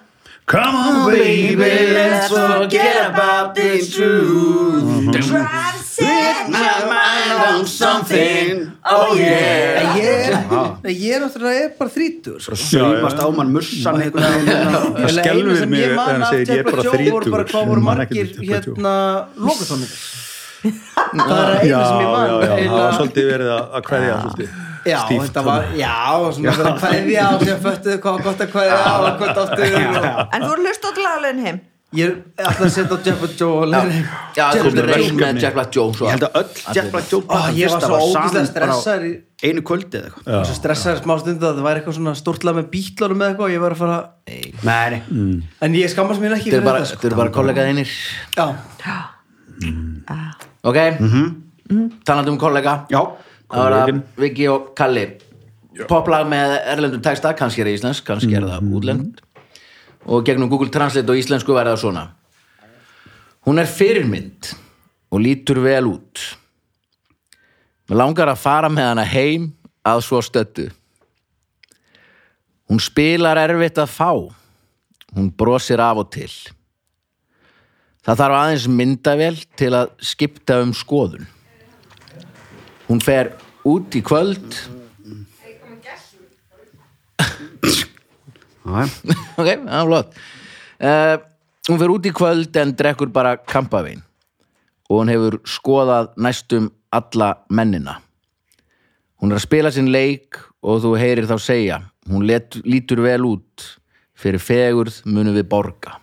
C: Come on baby
E: let's forget about
B: this truth
E: Try to set my mind on
D: something
E: Oh yeah
A: En ég er, en ég er náttúrulega ég er bara þrítur, sko.
D: Svífast á mann mussan einhvern [laughs] veginn hérna.
C: Það
A: Eða eina
C: skelfur
A: sem
C: mig
A: ég man
C: þegar hann
A: af
C: segir ég er
A: Jeppa
C: bara
A: Joe voru bara
C: þrítugur.
A: hvað voru
C: Ég man
A: margir
C: ekkert eftir Jeppa Joe.
A: hérna lokatónleikar. Það er
C: Já,
A: eina sem ég man.
C: já, já, það var
A: eiginlega-
C: svolítið verið að að kveðja svolítið.
A: Já,
C: stíft,
A: þetta var, já, svona svona kveðja og sem föttuðu hvað var gott að kveðja og hvað dáttuðu og
E: En þú eru hlust á lagalögin heim
A: ég er alltaf að setja á Jeff og Joe og Larry
B: Já, þú
A: Jeff og
B: ert
A: Joe.
B: reyn með Jack Black Joe
D: Ég
B: svo.
D: held að öll Jack Black Joe
A: Ó, ég var
D: fyrsta
A: svo ógíslega
D: saman bara á
A: stressaður í
D: einu kvöldi eða eitthvað
A: og svo stressaður smá stund að það væri eitthvað svona stórtlað með bítlarum eða eitthvað og ég var að fara
D: Nei, nei.
A: en ég skammast mér ekki
B: Mm. Þetta
A: fyrir
B: eru bara,
A: þetta sko.
B: þetta eru bara kollegað einir
A: Já,
B: Ok, talandi um kollega
D: Já,
B: Það var að
C: Kollegin.
B: Viki og Kalli Poplag með erlendum texta, kannski er það íslensk, kannski er það útlend Og gegnum Google Translate og íslensku væri það svona Hún er fyrirmynd og lítur vel út Mér langar að fara með hana heim að svo stöttu Hún spilar erfitt að fá Hún brosir af og til Það þarf aðeins myndavél til að skipta um skoðun Hún fer út í kvöld [laughs]
D: Já,
B: Ok, það er flott uh, Hún fer út í kvöld en drekkur bara kampavín og hún hefur skoðað næstum alla mennina Hún er að spila sinn leik og þú heyrir þá segja Hún let, lítur vel út fyrir fegurð munum við borga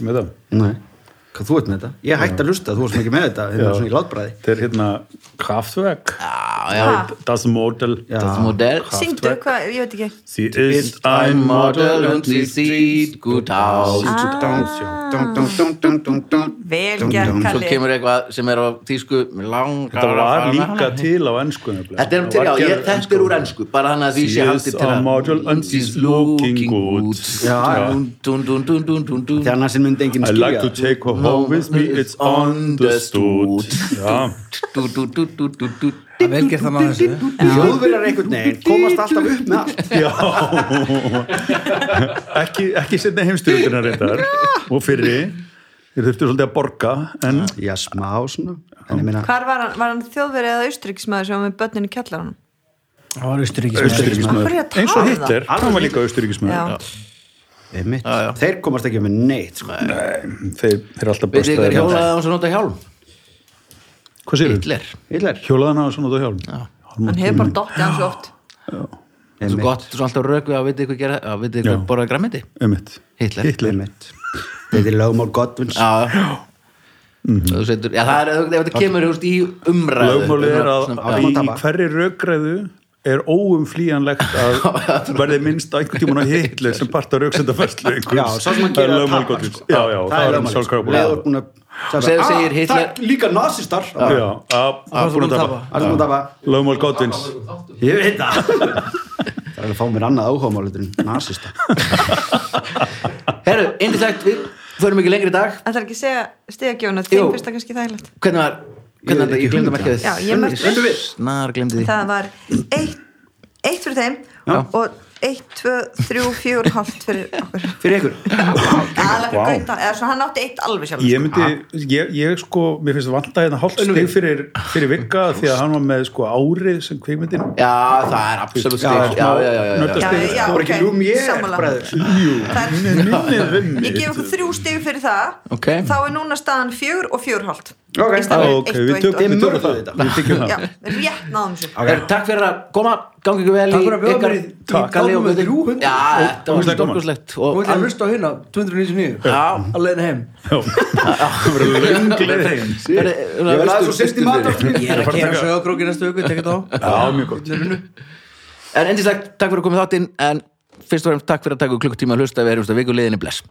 C: Með það.
D: nei Hvað þú ert með þetta? Ég hætti að hlusta, þú varst mikið með þetta hérna svona í látbræði
C: Þetta er hérna Kraftwerk,
A: Ah.
C: Ah,
B: Já, já,
E: Ha,
C: das Model.
B: þetta model
E: Syngdu, hvað, ég veit ekki
C: Sie ist ein Model und sie sieht
B: gut aus
E: Vel
D: Dum,
E: gert,
D: dum.
B: Svo
E: Kalli
B: kemur eitthvað sem er á tísku mig langar að
C: Þetta var
B: fara
C: líka
B: með-
C: til á ennsku nefnilega.
B: Þetta er, um
C: Það
B: til,
C: var
B: já, ég,
C: gerð á
B: þetta er úr ennsku, bara hann að því
C: She
B: sé
C: is
B: haldið til
C: a model and she's looking good.
B: Já,
D: Já, já.
B: dun, dun, dun, dun, dun, dun.
D: Þegar annars minn enginn
C: I like to
D: skilja
C: take her home with me, it's understood.
B: [laughs]
C: Já,
B: Dú, dú, dú, dú, dú, dú.
A: það er vel gert þannig að þessu
D: Þjóðverjar einhvern veginn komast alltaf upp með allt
C: já. ekki, ekki setna heimstyrjöldurinn reyndar og fyrri. Þeir þurftu svolítið að borga, en
D: Já, smá svona En ég meina,
E: Hvar var hann, var hann þjóðverið eða austuríkismæður sem var með börnin í kjallaranum?
A: Það var austuríkis
E: Af
C: austuríkismæður.
E: hverju er að tala
C: Eins og
E: um
C: Hitler, hann var líka austuríkismæður.
E: Já.
D: einmitt, þeir komast ekki upp með neitt sko.
C: Þeir, þeir eru alltaf
B: Veitir ykkur
C: bestaðir.
B: hjólaði hans að nota hjálm?
C: Hvað séu þau?
B: Hitler.
D: Hitler
C: Hjólaðan hafa svona út á hjálm.
E: Hann hefur bara dottið hans oft
B: Svo
D: Einmitt,
B: gott, svo alltaf rökuð að veitir ykkur gera, að veitir ykkur
C: Já.
B: borða græmiti.
C: Einmitt.
B: Hitler.
C: Hitler.
D: einmitt Þetta er lögmál Godwins
B: Já, já.
C: Mhm.
B: Þú setur, já, það er, ef þetta kemur þú veist, í umræðu.
C: Lögmáli er að,
B: Svona-
C: að
B: já.
C: í,
D: Já.
C: í hverri rökræðu er óumflýjanlegt að verði minnst á einhvern tímann á Hitler sem part á röksendaferslu einhvers.
D: Já, sá sem að
C: það er
D: gera
C: lögmál
D: tapar,
C: Gottfríðs.
D: sko.
C: Já, já, það er hann
D: lögmálið, sko.
C: sjálfkrafa
D: Leður búin að
B: Segðu-
D: Ah,
B: segir Hitler-
D: það er Líka nazistar
C: Já, að- að búin að tapa.
D: Allt múið dafa
C: Lögmál Gottins.
D: Ég veit það [laughs] Það er að fá mér annað áhugamálið en nazista
B: Herru, indislegt, við förum ekki lengri í dag.
E: Það er ekki að segja stigagjónu,
B: Jú.
E: þeim finnst það kannski þægilegt
B: Hvernig var, hvernig var þetta, ég
D: um
B: glemdi að merkja þið.
E: Já, ég merkti.
B: við. Snar glemdi því.
E: Það var eitt, eitt fyrir þeim og eitt, tvö, þrjú, fjúr, hálft fyrir okkur
D: Fyrir
E: [laughs]
D: ykkur
E: Aðalega fyrir
C: Vá.
E: Gauta, eða svo hann átti eitt alveg sko. sjálf
C: Ég myndi, ég, ég sko, mér finnst vanda hérna hálft stig fyrir, fyrir vikka því að hann var með sko árið sem kvikmyndin.
B: Já, það er absolutt
C: Já,
B: stig. Já,
C: smá
B: já, já, já, já.
E: Já,
C: nautastig.
E: já,
D: Það voru ekki
E: ok,
D: Lumière,
E: sammála.
D: bræður.
C: Jú,
E: Það er-
C: hún er minnið við mig.
E: Ég gef okkur þrjú stig fyrir það
B: Ok.
E: Þá er núna staðan fjör og fjórhálft
D: Ok.
E: Í staðan
C: Ok,
E: fyrir eitt og
C: við
E: eitt og
C: tökum
E: eitt.
C: við tökum
D: mörgum
C: það.
D: þetta.
C: Við tökum það.
E: Já, rétt náðum sér
B: Okay. Takk fyrir að koma, gangi ykkur vel
A: Takk fyrir að bjóða mér í- í
B: Takk.
A: gangi
B: Kalli og
A: með
B: Guðni.
A: 300.
B: Já, þetta var
C: Ógeðslega gaman.
B: stórkoslegt
A: og
B: og
A: ætla að hlusta á hérna 299
B: Já.
A: að leiðin heim
C: Já, það verður lönglega þeim.
D: Ég verði
B: verði
D: aðeins og sérst í matar
A: ég er
C: að
A: að
C: fara að
A: kera
C: taka-
A: sögakróki næstu viku, tekja þetta á
C: Já, mjög gott.
B: En endislegt, takk fyrir að koma í þáttinn En fyrst og fremst takk fyrir að taka klukkutíma að hlusta Við erum stað vikuleginni bless